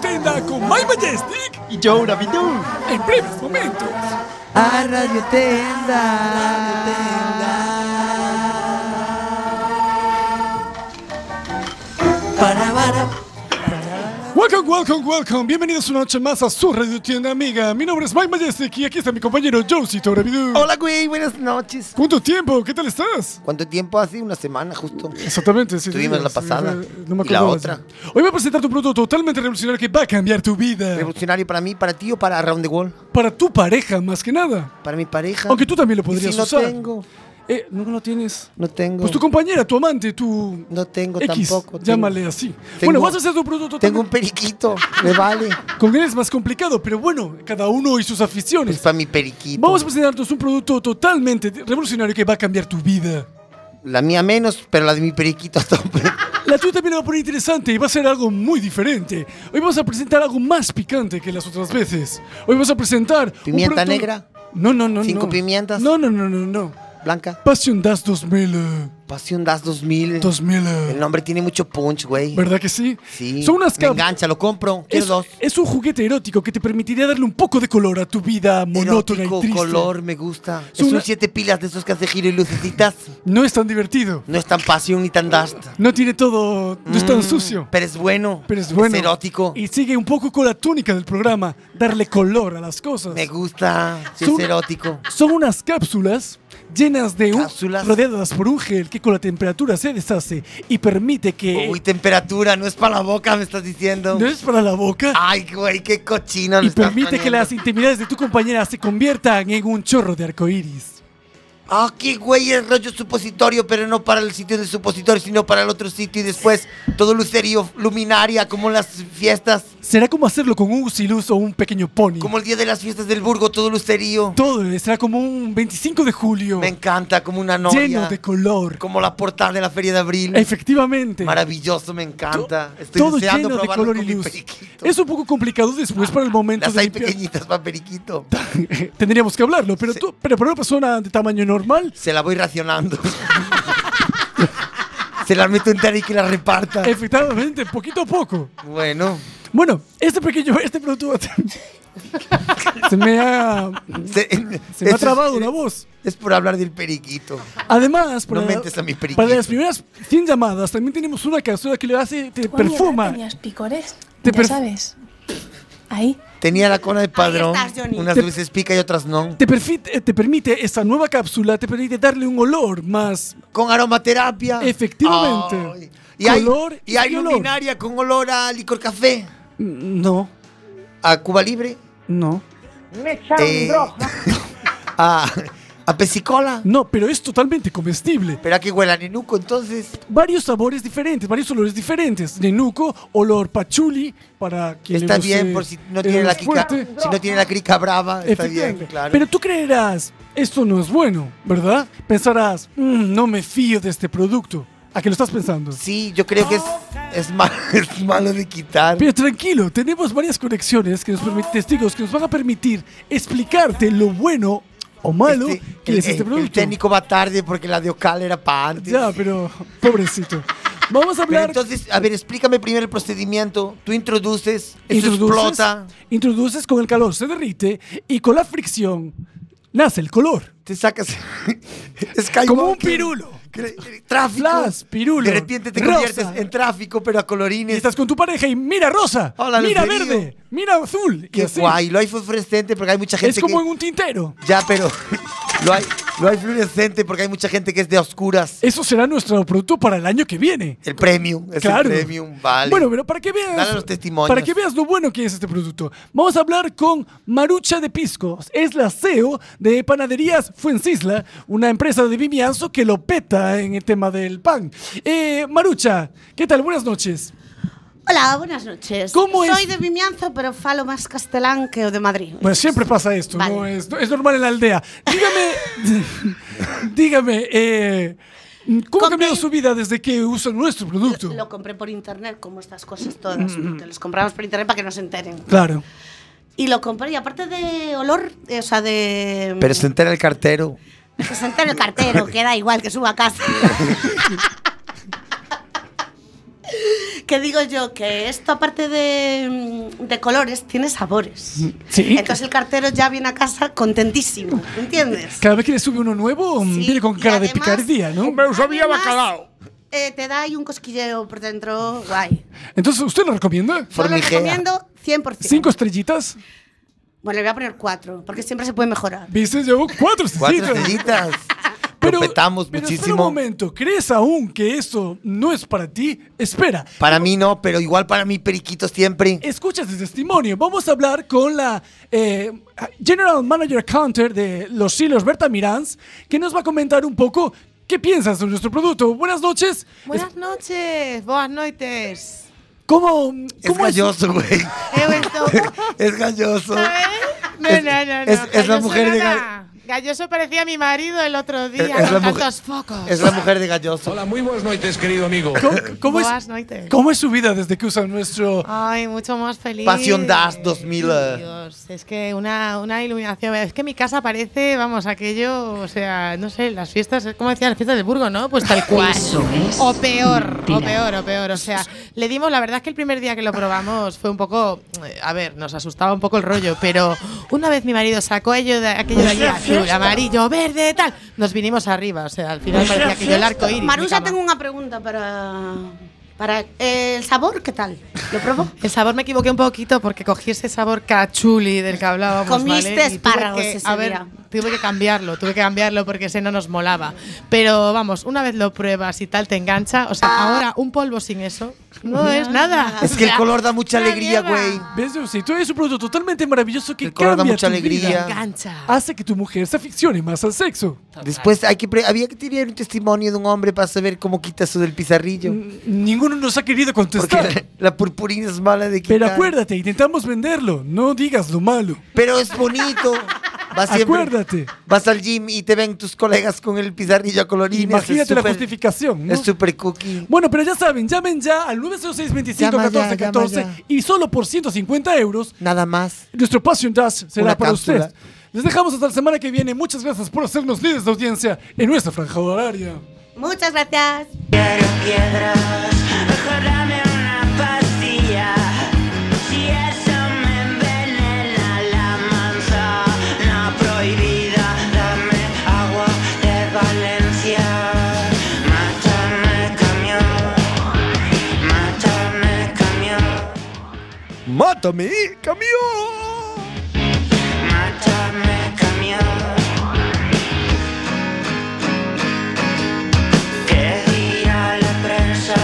Speaker 3: Prenda con My Majestic
Speaker 9: y Joe Navidou
Speaker 3: en breves momentos.
Speaker 9: A Radio Tenda.
Speaker 3: Welcome, welcome, welcome. Bienvenidos una noche más a su radio tienda amiga. Mi nombre es Mike Majestic y aquí está mi compañero Josito Rabidu.
Speaker 9: Hola, güey, buenas noches.
Speaker 3: ¿Cuánto tiempo? ¿Qué tal estás?
Speaker 9: ¿Cuánto tiempo? Hace una semana justo.
Speaker 3: Exactamente, sí.
Speaker 9: Tuvimos
Speaker 3: sí,
Speaker 9: la
Speaker 3: sí,
Speaker 9: pasada.
Speaker 3: sí, No me
Speaker 9: y la
Speaker 3: acordaba.
Speaker 9: otra.
Speaker 3: Hoy voy a presentarte un producto totalmente revolucionario que va a cambiar tu vida.
Speaker 9: ¿Revolucionario para mí, para ti o para Around the World?
Speaker 3: Para tu pareja, más que nada.
Speaker 9: Para mi pareja.
Speaker 3: Aunque tú también lo
Speaker 9: ¿Y
Speaker 3: podrías
Speaker 9: si no
Speaker 3: usar.
Speaker 9: tengo?
Speaker 3: Eh, ¿Nunca lo tienes?
Speaker 9: No tengo.
Speaker 3: Pues tu compañera, tu amante, tu.
Speaker 9: No tengo
Speaker 3: X,
Speaker 9: tampoco.
Speaker 3: Llámale
Speaker 9: Tengo-
Speaker 3: así.
Speaker 9: Tengo-
Speaker 3: bueno, vas a hacer tu producto
Speaker 9: Tengo un periquito, me vale.
Speaker 3: [LAUGHS] Con él es más complicado, pero bueno, cada uno y sus aficiones.
Speaker 9: Pues, para mi periquito.
Speaker 3: Vamos a presentarnos un producto totalmente revolucionario que va a cambiar tu vida.
Speaker 9: La mía menos, pero la de mi periquito a tope.
Speaker 3: [LAUGHS] La tuya también la va a poner interesante y va a ser algo muy diferente. Hoy vamos a presentar algo más picante que las otras veces. Hoy vamos a presentar. un
Speaker 9: ¿Pimienta
Speaker 3: producto-
Speaker 9: negra?
Speaker 3: No, no, no.
Speaker 9: ¿Cinco
Speaker 3: no.
Speaker 9: pimientas?
Speaker 3: No, no, no, no, no.
Speaker 9: ¿Blanca?
Speaker 3: Passion Das 2000. eh.
Speaker 9: Pasión Das 2000.
Speaker 3: 2000.
Speaker 9: El nombre tiene mucho punch, güey.
Speaker 3: ¿Verdad que sí?
Speaker 9: Sí.
Speaker 3: Son unas
Speaker 9: Me
Speaker 3: cam-
Speaker 9: engancha, lo compro. Quiero
Speaker 3: Es,
Speaker 9: dos.
Speaker 3: es un juguete erótico que te permitiría darle un poco de color a tu vida monótona
Speaker 9: Erótico,
Speaker 3: y triste.
Speaker 9: color, me gusta.
Speaker 3: Es
Speaker 9: Es un
Speaker 3: una-
Speaker 9: siete pilas de esos que hace giro y lucecitas.
Speaker 3: No es tan divertido.
Speaker 9: No es tan pasión ni tan dust.
Speaker 3: No tiene todo. No es tan sucio.
Speaker 9: Mm, Pero es bueno.
Speaker 3: Pero es bueno.
Speaker 9: erótico.
Speaker 3: Y sigue un poco con la túnica del programa, darle color a las cosas.
Speaker 9: Me gusta. Sí,
Speaker 3: Son-
Speaker 9: es erótico.
Speaker 3: Son unas cápsulas llenas de un,
Speaker 9: Cápsulas.
Speaker 3: rodeadas por un gel que con la temperatura se deshace y permite que
Speaker 9: Uy, temperatura, no es para la boca, me estás diciendo.
Speaker 3: no es para la boca
Speaker 9: Ay, güey, qué cochino.
Speaker 3: y permite que las intimidades de tu compañera se conviertan en un chorro de arcoíris.
Speaker 9: Ah, qué güey, es rollo supositorio, pero no para el sitio del supositorio, sino para el otro sitio. Y después todo lucerío, luminaria, como en las fiestas.
Speaker 3: Será como hacerlo con un usilus o un pequeño pony.
Speaker 9: Como el día de las fiestas del Burgo, todo lucerío.
Speaker 3: Todo será como un 25 de julio
Speaker 9: Me encanta, como una novia.
Speaker 3: lleno de color.
Speaker 9: Como la portada de la Feria de Abril.
Speaker 3: Efectivamente.
Speaker 9: Maravilloso, me encanta. Estoy
Speaker 3: todo
Speaker 9: deseando
Speaker 3: lleno de
Speaker 9: probarlo
Speaker 3: color y
Speaker 9: con mi
Speaker 3: luz.
Speaker 9: periquito.
Speaker 3: Es un poco complicado después para el momento
Speaker 9: Las
Speaker 3: de
Speaker 9: hay
Speaker 3: limpiar.
Speaker 9: pequeñitas para periquito.
Speaker 3: [LAUGHS] Tendríamos que hablarlo, pero tú, pero para una persona de tamaño normal,
Speaker 9: Se la voy racionando. [LAUGHS] Se la meto entera y que la reparta.
Speaker 3: Eh, efectivamente, poquito a poco.
Speaker 9: Bueno,
Speaker 3: Bueno, este pequeño, este producto [LAUGHS] va a tener- se me ha,
Speaker 9: se,
Speaker 3: se me ha
Speaker 9: eso
Speaker 3: trabado
Speaker 9: es,
Speaker 3: la voz.
Speaker 9: es por hablar del periquito.
Speaker 3: Además,
Speaker 9: No
Speaker 3: para,
Speaker 9: mentes a mi periquito.
Speaker 3: para las primeras 100 llamadas también tenemos una cápsula que le hace, te perfuma,
Speaker 12: Tenías picores,
Speaker 3: Te
Speaker 12: ya
Speaker 3: perf-
Speaker 12: sabes. Ahí.
Speaker 9: Tenía la cola de padrón.
Speaker 12: estás, Johnny.
Speaker 9: Unas
Speaker 3: Te-
Speaker 9: veces pica y otras no.
Speaker 3: te, perfi- eh, te permite esta nueva cápsula, te permite darle un olor más
Speaker 9: Con aromaterapia.
Speaker 3: efectivamente.
Speaker 9: Ay. Y hay,
Speaker 3: Color
Speaker 9: y hay
Speaker 3: y olor.
Speaker 9: luminaria con olor a licor café.
Speaker 3: No,
Speaker 9: A Cuba Libre.
Speaker 3: no.
Speaker 5: Me echaron
Speaker 9: Eh,
Speaker 5: roja.
Speaker 9: A, Ah, [LAUGHS] a pesicola.
Speaker 3: No, pero es totalmente comestible.
Speaker 9: Pero a que huela nenuco, entonces.
Speaker 3: Varios sabores diferentes, varios olores diferentes. Nenuco, olor pachuli, para que
Speaker 9: Está bien, por si no tiene la crica, si no tiene la crica brava, está bien, claro.
Speaker 3: Pero tú creerás, esto no es bueno, ¿verdad? Pensarás, "Mm, no me fío de este producto. ¿A qué lo estás pensando?
Speaker 9: Sí, yo creo que es, es, ma- [LAUGHS] es malo de quitar.
Speaker 3: Pero tranquilo, tenemos varias conexiones que nos permiten, testigos que nos van a permitir explicarte lo bueno o malo
Speaker 9: Este,
Speaker 3: que
Speaker 9: el,
Speaker 3: es este
Speaker 9: el- el
Speaker 3: producto.
Speaker 9: técnico va tarde porque la de Ocal era para antes.
Speaker 3: ya, pero pobrecito. Vamos a
Speaker 9: Pero
Speaker 3: hablar
Speaker 9: entonces, a ver, explícame primero el procedimiento. Tú introduces, eso
Speaker 3: introduces,
Speaker 9: explota,
Speaker 3: introduces con el calor, se derrite y con la fricción nace el color.
Speaker 9: te sacas. [LAUGHS] Skywalker.
Speaker 3: Como un pirulo.
Speaker 9: Cre- Tráfico.
Speaker 3: Flash, pirulo.
Speaker 9: De repente te
Speaker 3: rosa.
Speaker 9: conviertes en tráfico, pero a
Speaker 3: Y
Speaker 9: colorines.
Speaker 3: estás con tu pareja y mira rosa,
Speaker 9: Hola,
Speaker 3: mira
Speaker 9: Lucerío.
Speaker 3: verde, mira azul. y
Speaker 9: Qué
Speaker 3: así.
Speaker 9: guay. Lo hay fluorescente porque hay mucha gente
Speaker 3: Es como
Speaker 9: que.
Speaker 3: en un tintero.
Speaker 9: Ya, pero. lo, hay, lo hay fluorescente porque hay mucha gente que es de oscuras.
Speaker 3: Eso será nuestro producto para el año que viene.
Speaker 9: El premium. Es
Speaker 3: Claro.
Speaker 9: el premium, vale.
Speaker 3: Bueno, pero para que veas.
Speaker 9: Dale los testimonios.
Speaker 3: Para que veas lo bueno que es este producto. Vamos a hablar con Marucha de Piscos. Es la CEO de Panaderías Fuencisla, una empresa de Vimianzo que lo peta en el tema del pan. Eh, Marucha, ¿qué tal? Buenas noches.
Speaker 8: Hola, buenas noches.
Speaker 3: ¿Cómo es?
Speaker 8: Soy de Vimianzo, pero falo más castelán que o de Madrid.
Speaker 3: Pues siempre pasa esto,
Speaker 8: Vale.
Speaker 3: ¿no? Es, es normal en la aldea.
Speaker 8: [LAUGHS]
Speaker 3: Dígame, dígame, eh, ¿cómo ha cambiado su vida desde que usa nuestro producto?
Speaker 8: Lo compré por internet, como estas cosas todas,
Speaker 3: Mm.
Speaker 8: porque los compramos por internet para que no se enteren.
Speaker 3: Claro.
Speaker 8: Y lo compré, y aparte de olor, eh, o sea, de.
Speaker 9: Pero se entera el cartero.
Speaker 8: Que se entere el
Speaker 3: [LAUGHS]
Speaker 8: cartero, que da igual que suba a casa. que digo yo que esto, aparte de, mm, de colores, tiene sabores.
Speaker 3: Sí.
Speaker 8: Entonces el cartero ya viene a casa contentísimo, ¿entiendes?
Speaker 3: Cada vez que le sube uno nuevo, mm, viene con cara de
Speaker 8: además-
Speaker 3: picardía, ¿no? Me
Speaker 8: sabía bacalao. Eh, te da ahí un cosquilleo por dentro, guay.
Speaker 3: Entonces, ¿usted lo recomienda?
Speaker 8: Yo lo recomiendo 100%.
Speaker 3: ¿Cinco estrellitas?
Speaker 8: Bueno, le voy a poner cuatro, porque siempre se puede mejorar.
Speaker 3: ¿Viste? Yo, cuatro estrellitas.
Speaker 9: Cuatro estrellitas.
Speaker 3: [LAUGHS] Pero,
Speaker 9: petamos
Speaker 3: pero espera
Speaker 9: muchísimo.
Speaker 3: un momento, ¿crees aún que eso no es para ti? Espera.
Speaker 9: Para mí no, pero igual para mí periquito siempre.
Speaker 3: Escucha este testimonio. Vamos a hablar con la eh, General Manager Counter de Los Silos, Berta Miranz, que nos va a comentar un poco qué piensas sobre nuestro producto. Buenas noches.
Speaker 10: Buenas noches, buenas noites.
Speaker 3: ¿Cómo,
Speaker 9: Es
Speaker 3: cómo
Speaker 9: galloso, güey. [LAUGHS] es galloso.
Speaker 10: No, no, no, no.
Speaker 9: es- es la
Speaker 10: Galloso
Speaker 9: mujer de
Speaker 10: nada.
Speaker 9: Gal-
Speaker 10: Galloso parecía mi marido el otro día.
Speaker 9: es la
Speaker 10: con
Speaker 9: mujer-
Speaker 10: tantos focos.
Speaker 9: Es la mujer de galloso.
Speaker 2: Hola, muy buenas noches, querido amigo.
Speaker 3: ¿Cómo es-
Speaker 10: Buenas noites.
Speaker 3: ¿Cómo es su vida desde que usan nuestro
Speaker 10: Ay, mucho más feliz.
Speaker 3: Pasión Das 2000, eh.
Speaker 10: Dios, es que una, una iluminación. Es que mi casa parece, vamos, aquello, o sea, no sé, las fiestas, como decían las fiestas de Burgo, ¿no? Pues tal cual.
Speaker 12: Eso es
Speaker 10: O peor, o
Speaker 12: mentira.
Speaker 10: peor, o peor. O sea, le dimos, la verdad es que el primer día que lo probamos fue un poco, eh, a ver, nos asustaba un poco el rollo, pero una vez mi marido sacó ello de, aquello
Speaker 8: Pues
Speaker 10: de allí, azul, amarillo, verde, tal, nos vinimos arriba, o sea, al final parecía aquello el arco iris. mi
Speaker 8: Pues Marusa,
Speaker 10: cama.
Speaker 8: tengo una pregunta para. Para eh, el sabor, ¿qué tal? ¿Lo probó?
Speaker 10: El sabor me equivoqué un poquito porque cogí ese sabor cachuli del que hablábamos. ¿vale?
Speaker 8: Comiste
Speaker 10: Y tuve
Speaker 8: espárragos
Speaker 10: que-
Speaker 8: ese
Speaker 10: a ver,
Speaker 8: día.
Speaker 10: Tuve que cambiarlo, tuve que cambiarlo porque ese no nos molaba. Pero vamos, una vez lo pruebas y tal te engancha, o
Speaker 8: Ah.
Speaker 10: sea, ahora un polvo sin eso no es nada.
Speaker 9: eh. Es que el color da mucha alegría, güey.
Speaker 10: ah.
Speaker 3: ¿Ves? Si tú eres un producto totalmente maravilloso que
Speaker 9: color da
Speaker 3: cambia
Speaker 9: mucha
Speaker 3: tu vida.
Speaker 9: alegría.
Speaker 10: Engancha.
Speaker 3: hace que tu mujer se aficione más al sexo.
Speaker 9: Después hay que pre- había que tener un testimonio de un hombre para saber cómo quita eso del pizarrillo.
Speaker 3: Mm. Ninguno nos ha querido contestar.
Speaker 9: Porque la, la purpurina es mala de quitar.
Speaker 3: Pero acuérdate, intentamos venderlo. No digas lo malo.
Speaker 9: Pero es bonito. Vas siempre-
Speaker 3: Acuérdate.
Speaker 9: Vas al gym y te ven tus colegas con el pizarrillo a colorines.
Speaker 3: Imagínate
Speaker 9: es
Speaker 3: la
Speaker 9: súper-
Speaker 3: justificación. ¿no?
Speaker 9: Es súper cookie.
Speaker 3: Bueno, pero ya saben, llamen ya al 906 25
Speaker 9: Llama ya,
Speaker 3: 14 14
Speaker 9: llama ya.
Speaker 3: y solo por 150 euros.
Speaker 9: Nada más.
Speaker 3: Nuestro Passion Dash será
Speaker 9: Una
Speaker 3: para
Speaker 9: cápsula.
Speaker 3: ustedes. Les dejamos hasta la semana que viene. Muchas gracias por hacernos líderes de audiencia en nuestra franja horaria.
Speaker 8: Muchas gracias.
Speaker 14: Si eso me envenena la manzana prohibida, dame agua de Valencia. Mátame camión, mátame camión,
Speaker 9: ¡Mátame, camión!
Speaker 14: mátame camión. ¿Qué dirá la prensa?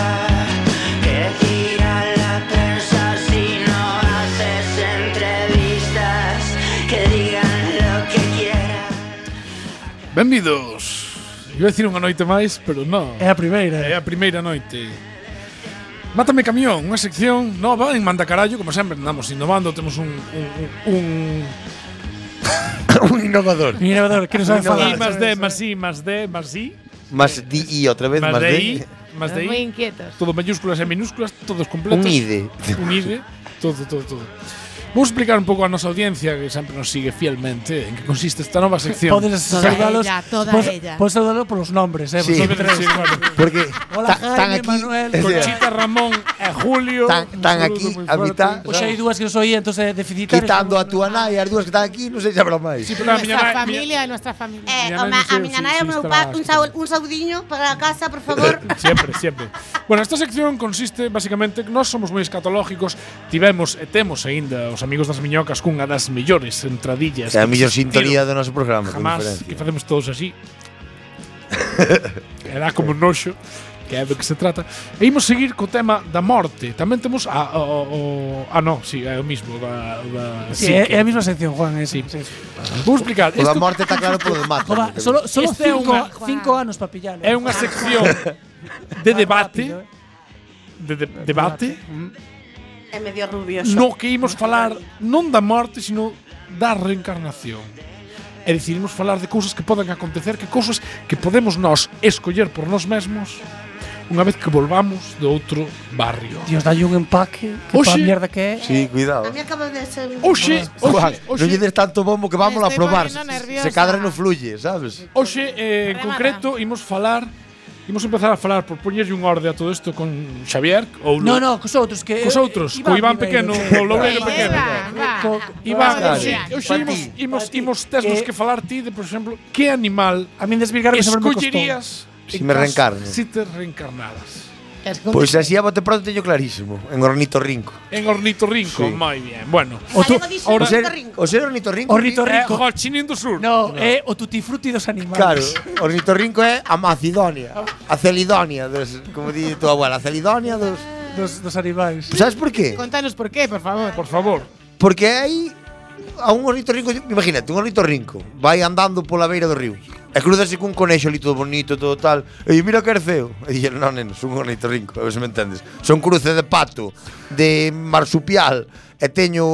Speaker 14: ¿Qué dirá la prensa si no haces entrevistas que digan lo que quieran?
Speaker 2: Benvidos. Iba a decir unha noite máis, pero non.
Speaker 3: É a primeira.
Speaker 2: É a primeira noite. Mátame camión, unha sección nova en Manda Carallo, como sempre andamos innovando, temos un un un,
Speaker 9: un innovador.
Speaker 3: Un innovador, que non sabe falar.
Speaker 2: I más D, más I, más D, más I.
Speaker 9: Más DI otra vez, más,
Speaker 2: Más de I,
Speaker 9: DI.
Speaker 2: más de I.
Speaker 10: Muy inquietos.
Speaker 2: Todo mayúsculas e minúsculas, todos completos.
Speaker 9: Un ide.
Speaker 2: Un ide, todo, todo, todo. Vou explicar un pouco a nosa audiencia que sempre nos sigue fielmente en que consiste esta nova sección. [LAUGHS]
Speaker 3: Podes saludarlos.
Speaker 10: toda
Speaker 3: Podes-
Speaker 10: ella.
Speaker 3: podes saludarlos Pues, por los nombres, eh.
Speaker 2: Sí,
Speaker 3: vosotros tres.
Speaker 2: sí, bueno.
Speaker 9: Porque ta-
Speaker 3: Hola, Jaime,
Speaker 9: tan aquí,
Speaker 3: Manuel.
Speaker 9: es decir,
Speaker 2: Conchita Ramón
Speaker 3: eh,
Speaker 2: e Julio.
Speaker 9: Tan- tan aquí, a mitad,
Speaker 3: Pois
Speaker 9: sabes?
Speaker 3: hai dúas Pues que non soía, entonces eh, deficitarios.
Speaker 9: quitando a tu Ana y a las duas que están aquí, no sé si habrá más.
Speaker 10: Nuestra familia, nuestra familia.
Speaker 8: Eh,
Speaker 2: Miña
Speaker 8: o
Speaker 2: nai
Speaker 8: ma-
Speaker 2: non sei,
Speaker 8: a mi
Speaker 2: sí,
Speaker 8: nana
Speaker 2: sí,
Speaker 8: e o meu
Speaker 2: está
Speaker 8: pa,
Speaker 2: lá,
Speaker 8: un, saul- un saudiño para a casa,
Speaker 10: [LAUGHS]
Speaker 8: por favor.
Speaker 2: [LAUGHS] Siempre, siempre. Bueno, esta sección consiste basicamente nós somos moi escatológicos, tivemos e temos aínda os amigos das miñocas cunha das mellores entradillas.
Speaker 9: Es a
Speaker 2: que
Speaker 9: mellor
Speaker 2: existiron
Speaker 9: sintonía do noso programa, con
Speaker 2: Jamás,
Speaker 9: diferencia.
Speaker 2: que facemos todos
Speaker 9: [LAUGHS]
Speaker 2: así. Era como un noxo, que é do que se trata. E imos seguir co tema da morte. Tamén temos a o, o, ah no, si, sí, é o mismo da, da
Speaker 3: Sí, é, é a mesma sección, Juan, eh. Sí.
Speaker 2: Vou explicar.
Speaker 9: Por la muerte está claro por lo demás.
Speaker 3: Jova, solo solo
Speaker 2: Este é
Speaker 3: cinco,
Speaker 2: unha-
Speaker 3: cinco anos para pillalo.
Speaker 2: É unha sección de debate de, de debate
Speaker 8: É medio rubioso.
Speaker 2: no que imos falar non da morte, sino da reencarnación. É dicir, imos falar de cousas que poden acontecer, que cousas que podemos nós escoller por nós mesmos unha vez que volvamos de outro barrio.
Speaker 3: Dios, dalle un empaque. Que
Speaker 2: Oxe.
Speaker 3: pa mierda que é.
Speaker 9: Sí, cuidado.
Speaker 8: A mí acaba de ser.
Speaker 2: Oxe,
Speaker 9: Juan,
Speaker 2: oxe,
Speaker 9: no lle
Speaker 2: oxe,
Speaker 9: des tanto bombo que vamos a
Speaker 10: estoy
Speaker 9: probar.
Speaker 10: poniendo
Speaker 9: Se,
Speaker 10: nerviosa.
Speaker 9: se cadra no fluye, ¿sabes?
Speaker 2: oxe eh, en concreto imos falar Imos empezar a falar por poñerlle un orde a todo isto con Xavier ou
Speaker 1: No, no, cos outros que
Speaker 2: Cos outros,
Speaker 1: eh,
Speaker 2: co Iván
Speaker 1: primeiro.
Speaker 2: Pequeno, co Loureiro Pequeno.
Speaker 1: Co-
Speaker 2: Iván,
Speaker 1: Iván,
Speaker 2: hoxe,
Speaker 1: Iván.
Speaker 2: hoxe imos, imos, imos tesnos
Speaker 1: eh,
Speaker 2: que falar ti de, por exemplo, que animal
Speaker 1: a min desvirgarme sobre me costou.
Speaker 2: escollerías
Speaker 9: Si
Speaker 2: en
Speaker 9: me
Speaker 2: caso-
Speaker 9: reencarno.
Speaker 2: Si te reencarnaras.
Speaker 9: Pois así a bote pronto teño clarísimo. En ornitorrinco.
Speaker 2: En ornitorrinco,
Speaker 9: Sí.
Speaker 2: moi bien. Bueno,
Speaker 9: O tú- o ser- O ser ornitorrinco.
Speaker 2: Eh,
Speaker 9: eh,
Speaker 2: Joaquín do Sur.
Speaker 1: No, é o tutti frutti dos animais.
Speaker 9: Claro, ornitorrinco é a Macedonia, a Celidonia, dos, como di tu abuela, a Celidonia dos...
Speaker 1: Dos, dos animais.
Speaker 9: Sabes por qué?
Speaker 12: Contanos por qué, por favor.
Speaker 2: Por favor.
Speaker 9: Porque hai a un ornitorrinco, imagínate, un ornitorrinco vai andando pola beira do río e cruzase cun conexo ali todo bonito, todo tal, e di, mira que eres feo. E dixen, non, neno, son un ornitorrinco, a ver se me entendes. Son cruce de pato, de marsupial, e teño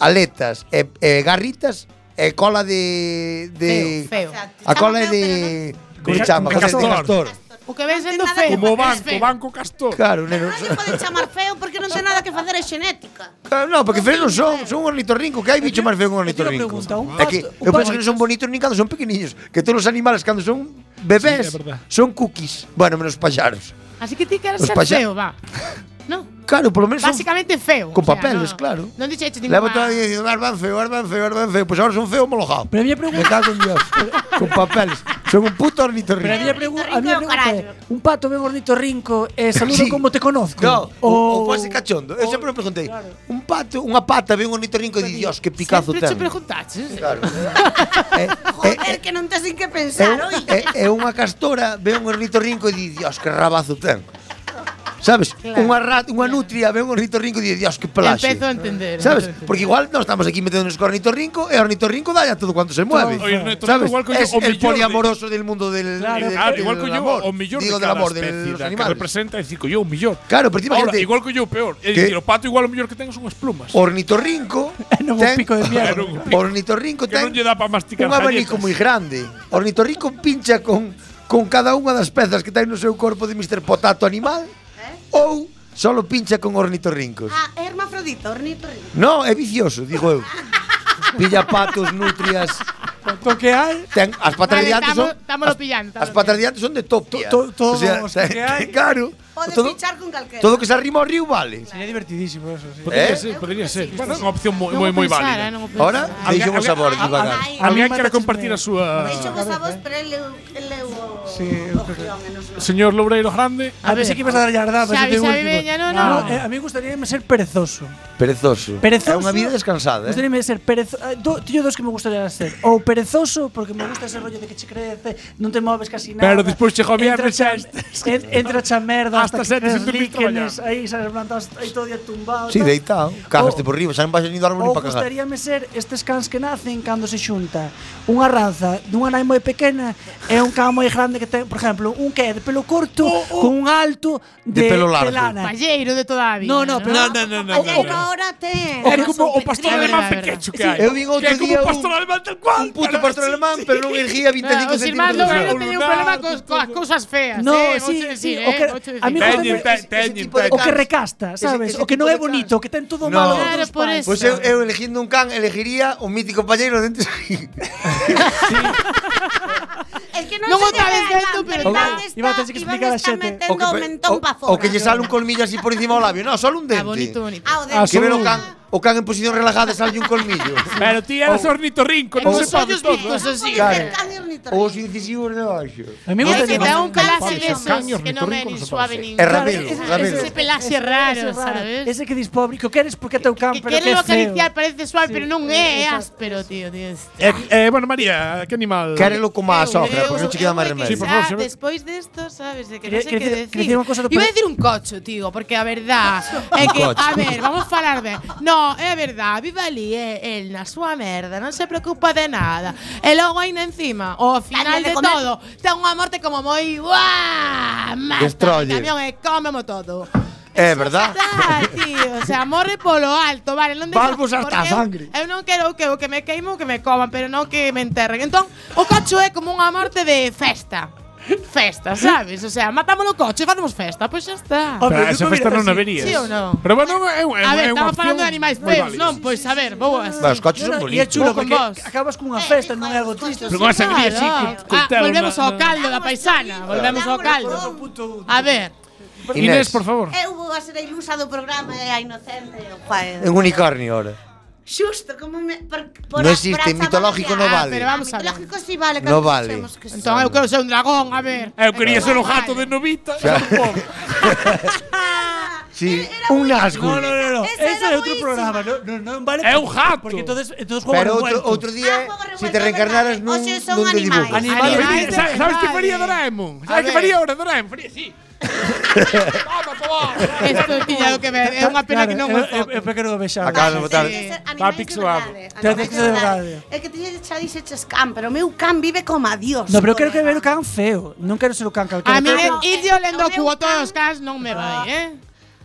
Speaker 9: aletas e, e garritas e cola de... de
Speaker 12: Feo, feo.
Speaker 9: A cola é de... Como se
Speaker 2: De-
Speaker 9: chama?
Speaker 2: un
Speaker 9: Cola de
Speaker 2: castor.
Speaker 9: castor.
Speaker 12: O que ven sendo feo.
Speaker 2: Como
Speaker 12: eres
Speaker 2: banco,
Speaker 12: feo.
Speaker 2: banco castor.
Speaker 9: Claro, neno.
Speaker 8: Pode chamar feo porque non ten nada que facer é xenética.
Speaker 9: [LAUGHS] Claro, non, porque feos non son, son un ornitorrinco, que hai bicho máis feo que un ornitorrinco.
Speaker 1: pregunta, un
Speaker 9: é que
Speaker 1: pato- un
Speaker 9: eu penso
Speaker 1: pato-
Speaker 9: que non son bonitos nin cando son pequeniños, que todos os animales cando son bebés
Speaker 12: Sí, é verdad.
Speaker 9: son cookies. Bueno, menos paxaros.
Speaker 12: Así que ti queres
Speaker 9: Os
Speaker 12: ser
Speaker 9: paya-
Speaker 12: feo, va.
Speaker 9: Claro, polo menos son
Speaker 12: Básicamente feo. o
Speaker 9: con
Speaker 12: sea,
Speaker 9: papeles,
Speaker 12: no-
Speaker 9: claro.
Speaker 12: Non dixeches ninguna.
Speaker 9: Levo toda a vida dicindo, "Arban feo, arban feo, arban feo", pois agora son feo molojado.
Speaker 1: Pero a miña pregunta...
Speaker 9: Me cago en Dios. con papeles. Son un puto ornitorrinco.
Speaker 1: Pero a miña pregu- a miña pregunta é, un pato ben ornitorrinco, eh,
Speaker 9: Sí.
Speaker 1: saludo como te conozco.
Speaker 9: No,
Speaker 12: Oh.
Speaker 9: o, o,
Speaker 1: O-
Speaker 9: pode ser cachondo. Eu sempre me preguntei, un pato, unha pata ve un ornitorrinco e di, Dios, que picazo
Speaker 12: Sempre ¿eh?
Speaker 9: ten.
Speaker 12: te preguntaches. [LAUGHS]
Speaker 9: Claro. Eh,
Speaker 8: Joder, que non tes nin que pensar,
Speaker 9: É-
Speaker 8: oiga.
Speaker 9: É, é unha castora, ve un ornitorrinco e di, Dios, que rabazo ten. Sabes?
Speaker 12: Claro.
Speaker 9: Unha rat, unha nutria ve un ornitorrinco e di, Dios, que pelaxe.
Speaker 12: Empezo a entender.
Speaker 9: Sabes?
Speaker 12: empezo a entender.
Speaker 9: Porque igual nós estamos aquí meténdonos co ornitorrinco e o ornitorrinco dalla todo cuanto se mueve.
Speaker 2: Todo. Oye, ornitorrinco
Speaker 9: Sabes?
Speaker 2: igual coño
Speaker 9: es
Speaker 2: o
Speaker 9: el
Speaker 2: millor
Speaker 9: poliamoroso del mundo del,
Speaker 2: Claro,
Speaker 9: del-
Speaker 2: claro,
Speaker 9: del
Speaker 2: igual que yo,
Speaker 9: amor.
Speaker 2: o millor
Speaker 9: Digo,
Speaker 2: de
Speaker 9: del
Speaker 2: cada
Speaker 9: amor de
Speaker 2: especie
Speaker 9: los
Speaker 2: da que
Speaker 9: animales.
Speaker 2: representa, decir, yo un millor.
Speaker 9: Claro, pero te
Speaker 2: Ahora,
Speaker 9: imagínate-
Speaker 2: igual que yo, peor. Es
Speaker 9: ¿Qué?
Speaker 2: decir, o pato igual o millor que ten son unhas plumas.
Speaker 9: Ornitorrinco
Speaker 1: [LAUGHS] non
Speaker 9: ten,
Speaker 1: pico
Speaker 9: [LAUGHS]
Speaker 1: de
Speaker 2: Era
Speaker 1: mierda.
Speaker 2: un pico.
Speaker 9: Ornitorrinco
Speaker 2: Que
Speaker 9: ten
Speaker 2: non lle dá para masticar
Speaker 9: un
Speaker 2: galletas.
Speaker 9: abanico moi grande. Ornitorrinco pincha con con cada unha das pezas que ten no seu corpo de Mr. Potato animal ou solo pincha con ornitorrincos.
Speaker 8: Eh? Ah, é hermafrodita, ornitorrinco.
Speaker 9: No, é vicioso, digo eu. Pilla patos, nutrias.
Speaker 1: Tanto que hai?
Speaker 9: Ten, as
Speaker 12: Vale,
Speaker 9: patas de diante
Speaker 12: tamo-
Speaker 9: son...
Speaker 12: támolo
Speaker 9: as-
Speaker 12: pillando,
Speaker 9: As
Speaker 12: támolo
Speaker 9: patas de diante son de top. To,
Speaker 1: to- todos os que hai.
Speaker 9: Claro.
Speaker 8: Pode
Speaker 9: todo,
Speaker 8: fichar con calquera.
Speaker 9: todo que se arrima ao río vale.
Speaker 1: Sería divertidísimo eso, sí.
Speaker 2: Podría
Speaker 9: Eh?
Speaker 2: ser, podría ser.
Speaker 1: sí.
Speaker 2: Isto é unha opción moi
Speaker 12: Non
Speaker 2: moi
Speaker 12: vou
Speaker 2: moi
Speaker 12: pensar,
Speaker 2: válida.
Speaker 12: eh, non vou pensar.
Speaker 9: Ahora, deixen os sabores
Speaker 2: alguén-
Speaker 9: divagar.
Speaker 2: alguén- Alguén quere compartir a súa
Speaker 8: Deixo vos a
Speaker 9: Ah,
Speaker 8: vos, pero ele el leu o...
Speaker 1: Sí,
Speaker 8: o guión, e non se-
Speaker 2: Señor Loureiro Grande.
Speaker 1: A ver, que ibas a dar yardá,
Speaker 12: Xavi,
Speaker 1: pero yo te digo
Speaker 12: Xavi,
Speaker 1: el último.
Speaker 12: veña, no, no.
Speaker 1: eh, a mí me gustaría ser perezoso.
Speaker 9: Perezoso. É
Speaker 1: Perezoso.
Speaker 9: unha vida descansada, eh?
Speaker 1: Gustaríame ser perezoso. Do, tío, dos que me gustaría ser. Ou perezoso, porque me gusta ese rollo de que che crece, non te moves casi nada.
Speaker 2: Pero despois chega o viernes,
Speaker 1: Entra
Speaker 2: xa
Speaker 9: pues-
Speaker 1: cha- en- entra cha merda
Speaker 2: Hasta
Speaker 1: hasta,
Speaker 2: sete
Speaker 1: que
Speaker 2: sin
Speaker 1: crees
Speaker 2: dormir
Speaker 1: líquenes, aí sabes plantados, aí todo día tumbado.
Speaker 9: Sí,
Speaker 1: tal.
Speaker 9: deitado. Cagaste por riba, xa non vas ni do árbol
Speaker 1: Ou
Speaker 9: ni para cagar.
Speaker 1: gustaríame ser estes cans que nacen cando se xunta unha raza dunha nai moi pequena e un can moi grande que ten, por exemplo, un que é de pelo corto con un alto de,
Speaker 9: De pelo largo.
Speaker 1: lana.
Speaker 12: Palleiro de toda a vida.
Speaker 1: No, no, pero- No, no,
Speaker 12: no.
Speaker 1: O- o-
Speaker 8: Ahora te...
Speaker 2: É como o pastor
Speaker 12: Sí,
Speaker 2: alemán
Speaker 12: verdad,
Speaker 2: pequecho que
Speaker 12: verdad.
Speaker 2: hai.
Speaker 9: Eu vin outro
Speaker 2: Que é como
Speaker 9: día
Speaker 2: o
Speaker 9: un-
Speaker 2: pastor alemán tal cual.
Speaker 9: Un puto pastor alemán, pero non erguía 25
Speaker 12: Os irmáns
Speaker 9: centímetros.
Speaker 12: Loureiro teñen un
Speaker 2: lunar,
Speaker 12: problema cos, coas cousas feas.
Speaker 1: No,
Speaker 12: eh,
Speaker 1: sí,
Speaker 12: vouche dicir,
Speaker 1: sí, o que-
Speaker 12: eh, vouche
Speaker 1: a mí
Speaker 12: dicir.
Speaker 2: Teñen, te- teñen,
Speaker 1: O que
Speaker 2: teñen.
Speaker 1: recasta,
Speaker 9: ese
Speaker 1: sabes? o que
Speaker 9: tipo
Speaker 1: non é
Speaker 9: de cans.
Speaker 1: bonito, que ten todo
Speaker 9: No.
Speaker 1: malo. Pues
Speaker 12: Claro,
Speaker 1: dos
Speaker 12: por
Speaker 1: pais.
Speaker 12: eso.
Speaker 9: Pois eu, eu eligindo un can, elegiría un mítico palleiro dentro.
Speaker 8: Es que non
Speaker 12: Non
Speaker 8: se
Speaker 12: o
Speaker 8: lle
Speaker 12: tabes
Speaker 8: ve,
Speaker 12: dentro,
Speaker 8: Iván,
Speaker 12: pero
Speaker 8: pero
Speaker 9: tal.
Speaker 8: Iván está-
Speaker 1: Iván, tens que
Speaker 8: Iván
Speaker 1: explicar a
Speaker 8: está
Speaker 1: xente.
Speaker 8: metendo o mentón pa
Speaker 9: o, o
Speaker 8: fora.
Speaker 9: que lle sale un colmillo así por encima do labio. Non, só un
Speaker 12: Ah,
Speaker 9: dente.
Speaker 12: bonito, bonito.
Speaker 8: Ah, o de...
Speaker 2: Ah,
Speaker 9: Que
Speaker 2: só
Speaker 9: ve o
Speaker 2: un-
Speaker 9: can, o can en posición relajada e sale un colmillo.
Speaker 2: [LAUGHS] Pero ti eras ornitorrinco, non
Speaker 9: Ou-
Speaker 2: se pode
Speaker 12: ollos
Speaker 2: todo. ¿eh?
Speaker 12: vistos así.
Speaker 9: Claro.
Speaker 8: Can e ornitorrinco.
Speaker 9: Os incisivos de baixo.
Speaker 1: A mí me
Speaker 12: É que
Speaker 1: gustaría
Speaker 12: dá un pelaxe
Speaker 2: Vale, son
Speaker 12: desos que non é
Speaker 2: ornitorrinco,
Speaker 12: nin
Speaker 2: non se
Speaker 12: suave
Speaker 2: pode
Speaker 12: nin...
Speaker 9: É
Speaker 1: Claro,
Speaker 9: Ramiro,
Speaker 1: ese-
Speaker 9: Ramiro.
Speaker 1: ese-
Speaker 12: Ese pelaxe
Speaker 1: ese-
Speaker 12: raro,
Speaker 1: ese
Speaker 12: sabes?
Speaker 1: Ese que dis pobre, que o queres porque é teu can,
Speaker 12: Que
Speaker 1: pero que
Speaker 12: quere
Speaker 1: é feo.
Speaker 12: acariciar, parece suave, pero non é, é áspero, tío. tío.
Speaker 2: Eh, eh, bueno, María, que animal?
Speaker 9: Quérelo como a sogra,
Speaker 12: Eu-
Speaker 9: pois non che
Speaker 12: eu-
Speaker 9: queda
Speaker 12: eu
Speaker 9: máis
Speaker 12: é que
Speaker 9: remedio.
Speaker 2: Sí, por favor,
Speaker 12: xa
Speaker 2: se ve-
Speaker 12: Despois desto, sabes, é que non
Speaker 1: Quería-
Speaker 12: sei
Speaker 1: quería
Speaker 12: que
Speaker 1: decir-
Speaker 12: decir.
Speaker 1: quería decir unha cousa do
Speaker 12: Iba a
Speaker 1: pre-
Speaker 12: decir un cocho, tío, porque a verdad
Speaker 1: Ah,
Speaker 12: [LAUGHS] é que, a ver, vamos falar ben. No, é a verdad, vive ali, é el na súa merda, non se preocupa de nada. E logo aínda encima, ao final
Speaker 8: Dándole
Speaker 12: de
Speaker 8: comer.
Speaker 12: todo, ten unha morte como moi guá, mata o
Speaker 9: Destroyer.
Speaker 12: camión e cómemo todo.
Speaker 9: É verdad.
Speaker 12: Tal, tío, o sea, morre polo alto, vale, non deixa-
Speaker 9: Valvos hasta
Speaker 12: porque eu-
Speaker 9: sangre.
Speaker 12: Eu non quero que o que me queimo que me coman, pero non que me enterren. Entón, o cacho é como unha morte de festa. festa, sabes? O sea, matamos no coche e facemos festa, pois xa está.
Speaker 2: Pero esa festa non a verías.
Speaker 12: Sí ou non?
Speaker 2: Pero bueno, é, é,
Speaker 12: A
Speaker 2: é
Speaker 12: ver,
Speaker 2: unha
Speaker 12: estamos
Speaker 2: opción
Speaker 12: falando de animais
Speaker 2: moi
Speaker 12: feos,
Speaker 2: válida.
Speaker 12: non? Pois a ver, vou así.
Speaker 9: Os coches son
Speaker 1: E é
Speaker 9: bonitos.
Speaker 1: chulo
Speaker 12: Vou con
Speaker 1: porque
Speaker 12: vos.
Speaker 1: acabas cunha festa, non é algo triste.
Speaker 2: Pero con a sangría así,
Speaker 12: Claro.
Speaker 2: con
Speaker 12: Ah,
Speaker 2: cocktail,
Speaker 12: volvemos
Speaker 2: na-
Speaker 12: ao caldo da paisana, volvemos ao caldo. A ver.
Speaker 2: Inés, por favor.
Speaker 8: Eu vou Eh, a ser a ilusa do programa e a inocente.
Speaker 9: En unicornio ahora.
Speaker 8: Xusto, como me... Por, por a
Speaker 9: No existe,
Speaker 8: praza
Speaker 9: mitológico
Speaker 8: valenciana.
Speaker 9: no vale. Ah, pero
Speaker 12: vamos a ver.
Speaker 8: Mitológico sí vale.
Speaker 9: No vale.
Speaker 12: Entón eu quero ser un dragón, a ver.
Speaker 2: Eu Eh, quería ser un gato de novita.
Speaker 9: [LAUGHS] Sí, un asco.
Speaker 1: No, no, no, no.
Speaker 8: Esa
Speaker 1: Ese
Speaker 8: era
Speaker 1: é outro programa, non no, non vale.
Speaker 2: É un gato.
Speaker 1: Porque entonces, entonces juego
Speaker 9: Pero outro,
Speaker 1: revuelto.
Speaker 9: outro día, si te reencarnaras nun,
Speaker 8: Oxe, son
Speaker 9: nun de
Speaker 8: animais.
Speaker 9: dibujos.
Speaker 1: Animales.
Speaker 2: Mira,
Speaker 1: de
Speaker 2: ¿Sabes, sabes qué faría
Speaker 1: verdade.
Speaker 2: Doraemon?
Speaker 1: A
Speaker 2: ¿Sabes qué
Speaker 1: ver.
Speaker 2: faría ahora Doraemon? Faría así.
Speaker 12: Esto tiña que ver, é unha pena que non o
Speaker 2: eh,
Speaker 1: É
Speaker 12: enfoque.
Speaker 1: para que non o vexamos.
Speaker 9: Acabas de botar.
Speaker 8: Está
Speaker 2: pixelado.
Speaker 1: Te haces de verdade.
Speaker 8: É que tiñe xa dixeches can, pero o meu can vive como a Dios.
Speaker 1: No, pero quero que ver o can feo. Non quero ser o can calquera.
Speaker 12: A mí
Speaker 8: Pero-
Speaker 12: ir yo lendo cubo todos os cans non me vai, eh?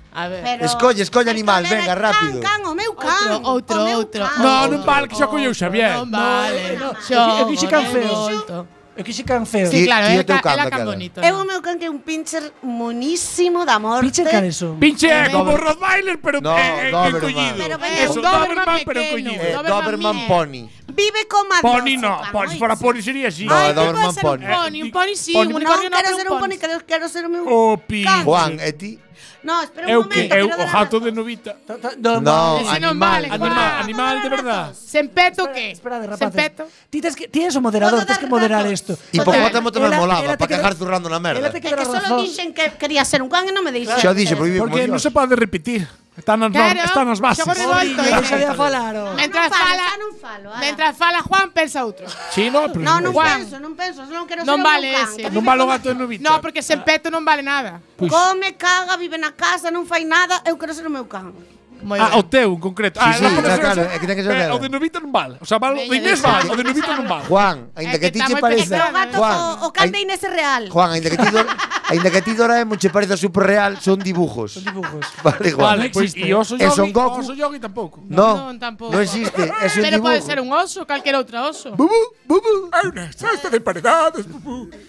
Speaker 12: A ver.
Speaker 8: Pero-
Speaker 9: Escolle, escolle animal,
Speaker 8: Pero
Speaker 9: venga,
Speaker 8: can,
Speaker 9: rápido.
Speaker 8: Can, o meu can.
Speaker 12: Outro, outro,
Speaker 8: o meu
Speaker 12: outro.
Speaker 8: can.
Speaker 2: No, no vale que xa colleu Xavier.
Speaker 12: Non vale.
Speaker 1: No, no,
Speaker 12: Yo
Speaker 1: eu quixen can feo.
Speaker 12: volto.
Speaker 1: Eu quixe can feo.
Speaker 12: Sí,
Speaker 9: Ti-
Speaker 12: claro,
Speaker 9: ti
Speaker 12: é
Speaker 9: é teu
Speaker 12: ca-
Speaker 9: can
Speaker 12: ela
Speaker 9: da
Speaker 12: can
Speaker 9: cara.
Speaker 12: bonito.
Speaker 8: É
Speaker 12: non?
Speaker 8: o meu can que é un pincher monísimo da morte.
Speaker 1: Pinche caresón.
Speaker 2: Pinche
Speaker 12: Eh,
Speaker 2: como
Speaker 12: Doberman.
Speaker 2: Rottweiler, pero
Speaker 9: No,
Speaker 2: eh, eh,
Speaker 9: Doberman.
Speaker 2: encollido.
Speaker 8: Pero
Speaker 12: É
Speaker 2: Es
Speaker 12: un
Speaker 2: un
Speaker 12: Doberman
Speaker 2: Doberman, pero
Speaker 12: pequeño.
Speaker 2: encollido.
Speaker 9: Eh,
Speaker 12: Doberman
Speaker 9: Doberman
Speaker 12: Mini.
Speaker 9: Pony.
Speaker 8: Vive como a Dios.
Speaker 2: Pony
Speaker 8: o
Speaker 2: no,
Speaker 8: can,
Speaker 2: pony,
Speaker 8: moi,
Speaker 2: si fuera
Speaker 8: sí.
Speaker 2: pony sería así. Eh,
Speaker 9: No,
Speaker 12: Ay,
Speaker 9: é
Speaker 12: non
Speaker 9: Doberman
Speaker 12: pode ser un
Speaker 9: Eh, Pony.
Speaker 12: pony, un pony sí, un
Speaker 2: Pony no.
Speaker 8: Non,
Speaker 12: unicornio non,
Speaker 8: quero
Speaker 12: pero
Speaker 8: ser
Speaker 12: un pony.
Speaker 8: un
Speaker 12: Oh.
Speaker 8: pony, quero, quero ser o meu...
Speaker 2: Opi.
Speaker 8: Can.
Speaker 9: Juan, é ti?
Speaker 8: No, espera un
Speaker 2: Eu
Speaker 8: momento.
Speaker 2: que eu
Speaker 8: quero
Speaker 2: o
Speaker 8: dar
Speaker 2: gato
Speaker 8: datos.
Speaker 2: de novita.
Speaker 1: No,
Speaker 9: No,
Speaker 12: Ese non
Speaker 9: animal.
Speaker 12: vale,
Speaker 2: Animal,
Speaker 12: Juan.
Speaker 2: animal de verdad.
Speaker 12: Sen peto que?
Speaker 1: Espera,
Speaker 12: Sen
Speaker 1: rapaces.
Speaker 12: peto.
Speaker 1: Ti tes que tienes o
Speaker 8: Podo
Speaker 1: moderador,
Speaker 8: dar
Speaker 1: tes que moderar
Speaker 8: datos.
Speaker 1: isto.
Speaker 9: Hipopótamo tamén
Speaker 1: Ela-
Speaker 9: molaba,
Speaker 1: ela
Speaker 9: para
Speaker 1: te
Speaker 9: cagar
Speaker 1: queda-
Speaker 9: zurrando na
Speaker 1: Ela
Speaker 9: merda.
Speaker 1: te
Speaker 8: É
Speaker 1: queda
Speaker 8: que solo
Speaker 1: razón.
Speaker 8: dixen que quería ser un can e non me deixen.
Speaker 9: Xa dixe, prohibe
Speaker 2: Porque
Speaker 9: como
Speaker 2: non se
Speaker 9: Dios.
Speaker 2: pode repetir. Están nas,
Speaker 12: Claro,
Speaker 2: normas, están nas bases.
Speaker 12: xogo revolto,
Speaker 1: Pobriño,
Speaker 12: eh.
Speaker 1: deixa de falar. oh.
Speaker 12: Mentras
Speaker 8: non falo,
Speaker 12: fala,
Speaker 8: xa non falo, ala.
Speaker 12: mentras fala Juan, pensa outro.
Speaker 2: Sí, no, pero
Speaker 8: No, non
Speaker 12: Juan.
Speaker 8: penso, non penso, non quero
Speaker 12: Non
Speaker 8: ser
Speaker 12: vale
Speaker 8: un can.
Speaker 12: ese.
Speaker 8: que
Speaker 2: non
Speaker 8: vive
Speaker 2: vale o
Speaker 8: como-
Speaker 2: gato de novita.
Speaker 12: No, porque
Speaker 2: Ah.
Speaker 12: sen peto non vale nada.
Speaker 2: Pois,
Speaker 8: Come, caga, vive na casa, non fai nada, eu quero ser o meu can.
Speaker 12: Moi
Speaker 2: ah,
Speaker 12: ben.
Speaker 2: o teu en concreto.
Speaker 9: Sí,
Speaker 2: Ah,
Speaker 9: sí,
Speaker 2: la podes-
Speaker 9: claro, é que ten que ser
Speaker 2: eh, O
Speaker 9: negro.
Speaker 2: de novita non vale. O sea, vale, o de
Speaker 12: Veña,
Speaker 2: Inés
Speaker 12: deixa.
Speaker 2: vale, o de novita non vale.
Speaker 9: Juan,
Speaker 12: É
Speaker 9: ainda que
Speaker 12: que
Speaker 9: a ti
Speaker 12: está
Speaker 9: che
Speaker 12: moi
Speaker 9: pareza...
Speaker 8: Pero o gato,
Speaker 9: Juan,
Speaker 8: o, o can
Speaker 9: ai-
Speaker 8: de Inés é real.
Speaker 9: Juan, ainda que ti
Speaker 8: [LAUGHS]
Speaker 9: do- ainda que ti Doraemon che pareza superreal, son dibujos.
Speaker 1: Dibujos.
Speaker 9: Vale, Juan.
Speaker 2: Vale, pois e oso
Speaker 9: E Son
Speaker 2: yogi,
Speaker 9: Goku.
Speaker 2: oso yogi tampouco.
Speaker 9: No,
Speaker 12: Non, tampouco.
Speaker 9: no existe, es un
Speaker 12: Pero
Speaker 9: dibujo.
Speaker 12: pode ser un oso, calquera outra oso.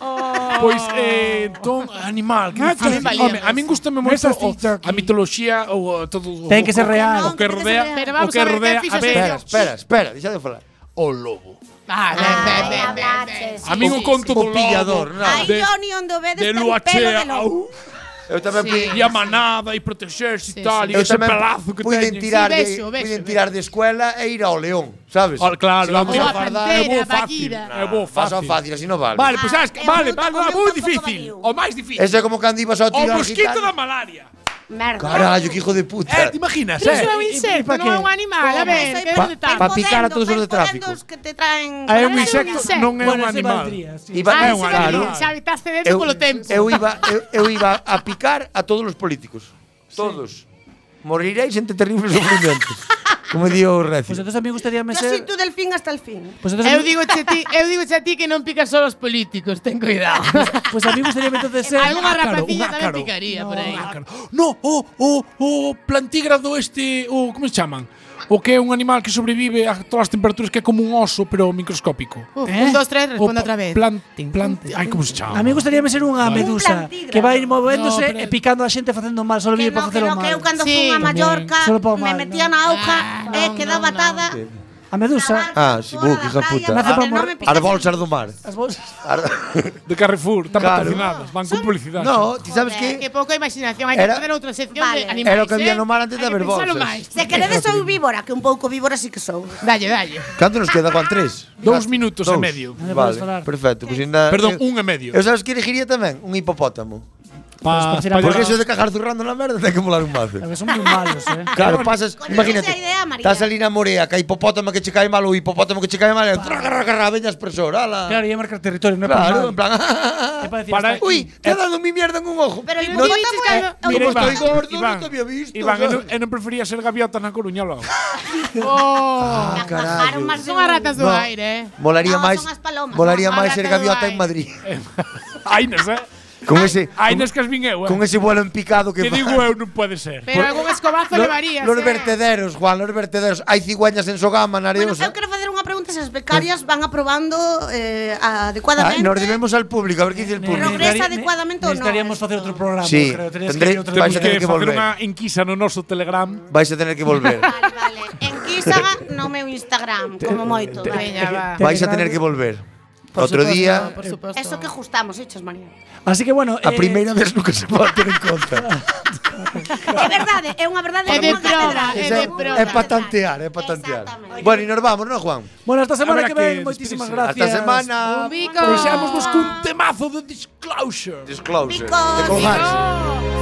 Speaker 12: Oh.
Speaker 2: Pois
Speaker 1: Ah.
Speaker 2: eh, entón animal, que difícil.
Speaker 12: tamén
Speaker 2: Home,
Speaker 12: valíamos.
Speaker 2: a min gustame moito
Speaker 1: Mesas
Speaker 2: o,
Speaker 1: TikTok.
Speaker 2: a mitoloxía ou o, todo o-
Speaker 1: Ten que ser
Speaker 2: o
Speaker 1: real.
Speaker 2: que
Speaker 8: Ten que ser
Speaker 2: rodea,
Speaker 8: real.
Speaker 12: Pero [LAUGHS] vamos
Speaker 2: o que
Speaker 12: a ver, ten
Speaker 2: rodea a
Speaker 12: fixos
Speaker 9: Espera,
Speaker 2: ver,
Speaker 12: ellos.
Speaker 9: espera, espera, deixa de falar.
Speaker 2: Oh,
Speaker 9: O lobo.
Speaker 12: Ah, ben, ben, ben, ben, ben.
Speaker 2: a min o conto do
Speaker 9: O pillador,
Speaker 2: lobo.
Speaker 9: nada.
Speaker 8: Aí
Speaker 2: de-
Speaker 8: Johnny onde o vedes
Speaker 2: De
Speaker 8: ten pelo
Speaker 2: luachea
Speaker 8: de lobo.
Speaker 9: Eu tamén
Speaker 12: Sí.
Speaker 9: puiden-
Speaker 2: e a manada e protexerse
Speaker 12: Sí,
Speaker 2: e tal,
Speaker 12: sí.
Speaker 2: e
Speaker 9: eu
Speaker 2: ese
Speaker 9: tamén
Speaker 2: pelazo que
Speaker 9: puiden
Speaker 2: teñen.
Speaker 9: tirar, de,
Speaker 12: Sí, beso, beso,
Speaker 9: puiden
Speaker 12: beso.
Speaker 9: tirar de escuela e ir ao león, sabes?
Speaker 2: Ah, claro,
Speaker 9: vamos
Speaker 12: Ou a
Speaker 9: a fardar.
Speaker 2: é
Speaker 12: pantera,
Speaker 2: bo fácil.
Speaker 12: Bagheera.
Speaker 2: É bo
Speaker 9: Vas ao
Speaker 2: fácil.
Speaker 9: fácil, así non vale.
Speaker 2: Vale, pois sabes,
Speaker 8: Ah,
Speaker 2: que-
Speaker 12: eh,
Speaker 8: eu non-
Speaker 2: vale, Oh, vale,
Speaker 8: eu
Speaker 2: moi
Speaker 8: tampouco
Speaker 2: difícil,
Speaker 8: valeu.
Speaker 2: o máis difícil.
Speaker 9: Ese é como cando ibas ao
Speaker 2: O
Speaker 9: tiro ao
Speaker 2: mosquito
Speaker 9: gitano.
Speaker 2: da malaria.
Speaker 8: Merda.
Speaker 9: Carallo, que hijo de puta.
Speaker 2: Eh, te imaginas,
Speaker 12: Pero iso é un
Speaker 2: eh?
Speaker 1: e pa
Speaker 12: insecto, non
Speaker 1: qué?
Speaker 12: é un animal. A ver, que
Speaker 9: pa-
Speaker 12: onde está?
Speaker 9: pa- picar a todos os de tráfico.
Speaker 8: que te traen...
Speaker 2: É un
Speaker 8: Caralho,
Speaker 2: insecto,
Speaker 8: unha-
Speaker 2: non é un
Speaker 1: Bueno, ese
Speaker 2: animal.
Speaker 1: valdría, sí.
Speaker 9: Iba-
Speaker 12: Ah,
Speaker 2: É
Speaker 12: ese
Speaker 2: un
Speaker 12: vai
Speaker 2: animal.
Speaker 12: bien, Xa habitaste dentro
Speaker 9: Eu,
Speaker 12: polo tempo.
Speaker 9: eu iba, eu, eu iba a picar a todos os políticos. Todos. Moriréis entre terribles sufrimientos. como dio o
Speaker 1: Pues
Speaker 9: Recio.
Speaker 1: entonces a mí gustaríame
Speaker 8: Yo soy
Speaker 1: ser...
Speaker 8: tú del fin hasta el fin.
Speaker 1: Pues entonces, a
Speaker 12: Eu
Speaker 1: mí-
Speaker 12: digo a ti, eu digo a ti que non picas só os políticos, ten cuidado.
Speaker 1: pues a mí gustaríame entonces
Speaker 12: [LAUGHS]
Speaker 1: ser...
Speaker 12: Algunha
Speaker 2: ácaro,
Speaker 12: rapacilla
Speaker 2: Ah, un
Speaker 12: tamén
Speaker 2: ácaro.
Speaker 12: picaría por aí.
Speaker 2: Ácaro. No, o, o, o plantígrado este, o como se chaman? O que é un animal que sobrevive a todas as temperaturas que é como un oso, pero microscópico. Eh?
Speaker 12: Uf, Un, dos, tres, responde outra vez.
Speaker 2: Plan, plan, ai, como se chama?
Speaker 1: A mí gustaríame ser unha
Speaker 2: Vale.
Speaker 1: medusa
Speaker 8: Un plantígrado.
Speaker 1: que vai movéndose
Speaker 2: No, pero-
Speaker 1: e picando a xente facendo mal, solo
Speaker 8: Que
Speaker 1: vive para
Speaker 8: no, que
Speaker 1: facer o
Speaker 8: no, que
Speaker 1: mal.
Speaker 8: eu cando
Speaker 12: Sí,
Speaker 8: fun a
Speaker 12: tamén.
Speaker 8: Mallorca
Speaker 1: Solo pa o
Speaker 8: me
Speaker 1: mal,
Speaker 8: metía
Speaker 1: non.
Speaker 8: na auca
Speaker 12: Ah, non,
Speaker 8: e eh, quedaba
Speaker 12: non,
Speaker 8: atada.
Speaker 1: A medusa,
Speaker 9: Ah, sí, bu, que hija puta.
Speaker 1: Nace pa morrer.
Speaker 9: As bolsas do mar.
Speaker 1: as bolsas...
Speaker 9: Ar-
Speaker 2: De Carrefour, están
Speaker 9: Claro.
Speaker 2: patrocinadas, van con publicidade.
Speaker 9: no, ti sabes
Speaker 8: Joder,
Speaker 9: que?
Speaker 12: Que pouca imaginación, hai que
Speaker 9: Era-
Speaker 12: facer outra sección
Speaker 8: Vale.
Speaker 12: de animais.
Speaker 9: Era o que
Speaker 12: eh?
Speaker 9: había no mar antes de
Speaker 12: Hai que
Speaker 9: haber
Speaker 12: pensalo
Speaker 9: bolsas.
Speaker 12: máis.
Speaker 8: Se queredes sou víbora, que un pouco víbora sí que sou.
Speaker 12: Dalle, dalle.
Speaker 9: Canto nos queda, Juan? Tres?
Speaker 2: Dous minutos
Speaker 9: Dous.
Speaker 2: e medio.
Speaker 1: Non podemos
Speaker 9: Vale,
Speaker 1: falar.
Speaker 9: perfecto. Pues na,
Speaker 2: Perdón,
Speaker 9: eu,
Speaker 2: un e medio.
Speaker 9: eu sabes que elegiría tamén? Un hipopótamo.
Speaker 2: Pa-
Speaker 1: Pues,
Speaker 2: pa-
Speaker 1: para
Speaker 9: Porque eso de cagar zurrando na merda ten que molar un mazo.
Speaker 1: A ver, son moi malos,
Speaker 12: [LAUGHS]
Speaker 1: eh.
Speaker 9: [LAUGHS] Claro, pasas,
Speaker 8: Coño,
Speaker 9: imagínate,
Speaker 8: esa idea, María.
Speaker 9: estás ali na morea, que hai hipopótamo que che cae mal, o hipopótamo que che cae mal, e traga, traga, traga, veña expresor, ala.
Speaker 1: Claro, ia marcar territorio, non é para
Speaker 9: Claro, en
Speaker 1: mal.
Speaker 9: plan.
Speaker 1: É para decir,
Speaker 2: Para-
Speaker 1: hasta aquí.
Speaker 9: Uy, te ha dado mi mierda en un ojo.
Speaker 8: Pero el
Speaker 9: no,
Speaker 8: hipopótamo é- é un
Speaker 2: Mira,
Speaker 9: como
Speaker 8: hipopótamo.
Speaker 9: estoy
Speaker 2: Iván,
Speaker 9: gordo,
Speaker 2: Iván,
Speaker 9: no te había visto.
Speaker 2: Iván, eu
Speaker 9: ¿sabes?
Speaker 2: non- eu non prefería ser gaviota na Coruña logo.
Speaker 8: Oh, Bajaron
Speaker 9: Ah, carallo.
Speaker 8: máis de
Speaker 12: Son as
Speaker 8: un.
Speaker 12: ratas do
Speaker 9: No.
Speaker 12: aire, eh.
Speaker 9: Molaría
Speaker 8: No,
Speaker 9: máis.
Speaker 8: Ah, son as palomas,
Speaker 9: Molaría
Speaker 12: son as
Speaker 9: máis ser
Speaker 12: ratas do
Speaker 9: gaviota
Speaker 12: aire.
Speaker 9: en Madrid.
Speaker 2: Ainas, eh?
Speaker 9: Con ese
Speaker 2: Ainas que as vin eu, eh?
Speaker 9: con ese vuelo en picado que
Speaker 2: Que digo eu, non pode ser.
Speaker 12: Pero algún escobazo
Speaker 9: Lo-
Speaker 12: levarías,
Speaker 9: Los
Speaker 12: eh.
Speaker 9: vertederos, Juan, los vertederos. Hai cigüeñas en Sogama, na
Speaker 8: Bueno,
Speaker 9: Areusa.
Speaker 8: eu quero facer unha pregunta que esas becarias van aprobando eh, adecuadamente.
Speaker 9: Ah, nos debemos al público, a ver qué dice el público.
Speaker 8: ¿Progresa adecuadamente o no?
Speaker 1: Necesitaríamos facer outro programa,
Speaker 9: Sí,
Speaker 1: creo.
Speaker 9: Ah.
Speaker 1: Tenías
Speaker 9: tendré-
Speaker 1: que ir outro
Speaker 9: vais a
Speaker 1: día.
Speaker 9: tener que volver.
Speaker 2: Una enquisa no noso Telegram.
Speaker 9: Vais a tener que
Speaker 8: [LAUGHS]
Speaker 9: volver.
Speaker 8: En Quísaga no meu Instagram, como moito.
Speaker 12: Veña, va.
Speaker 9: Vais a tener que volver.
Speaker 1: Por
Speaker 9: Otro
Speaker 1: supuesto.
Speaker 9: día.
Speaker 8: Por supuesto. Eso que ajustamos, hechos, María.
Speaker 1: Así que bueno, eh,
Speaker 9: A primeira vez nunca se pode ter en conta.
Speaker 8: É verdade, é unha verdade.
Speaker 12: É de
Speaker 8: unha
Speaker 12: proba,
Speaker 8: catedral.
Speaker 12: é
Speaker 9: É,
Speaker 12: de proba.
Speaker 9: para tantear, é para tantear. Bueno, y nos vamos, ¿no, Juan?
Speaker 1: Bueno, hasta semana
Speaker 9: Habrá
Speaker 1: que
Speaker 9: que
Speaker 1: ven. Moitísimas
Speaker 9: despedirse.
Speaker 1: gracias.
Speaker 9: Hasta semana.
Speaker 12: Un bico.
Speaker 2: Pois
Speaker 1: Deixámosvos cun temazo de Disclosure.
Speaker 9: Disclosure.
Speaker 1: Bico,
Speaker 9: de colgarse.
Speaker 1: bico.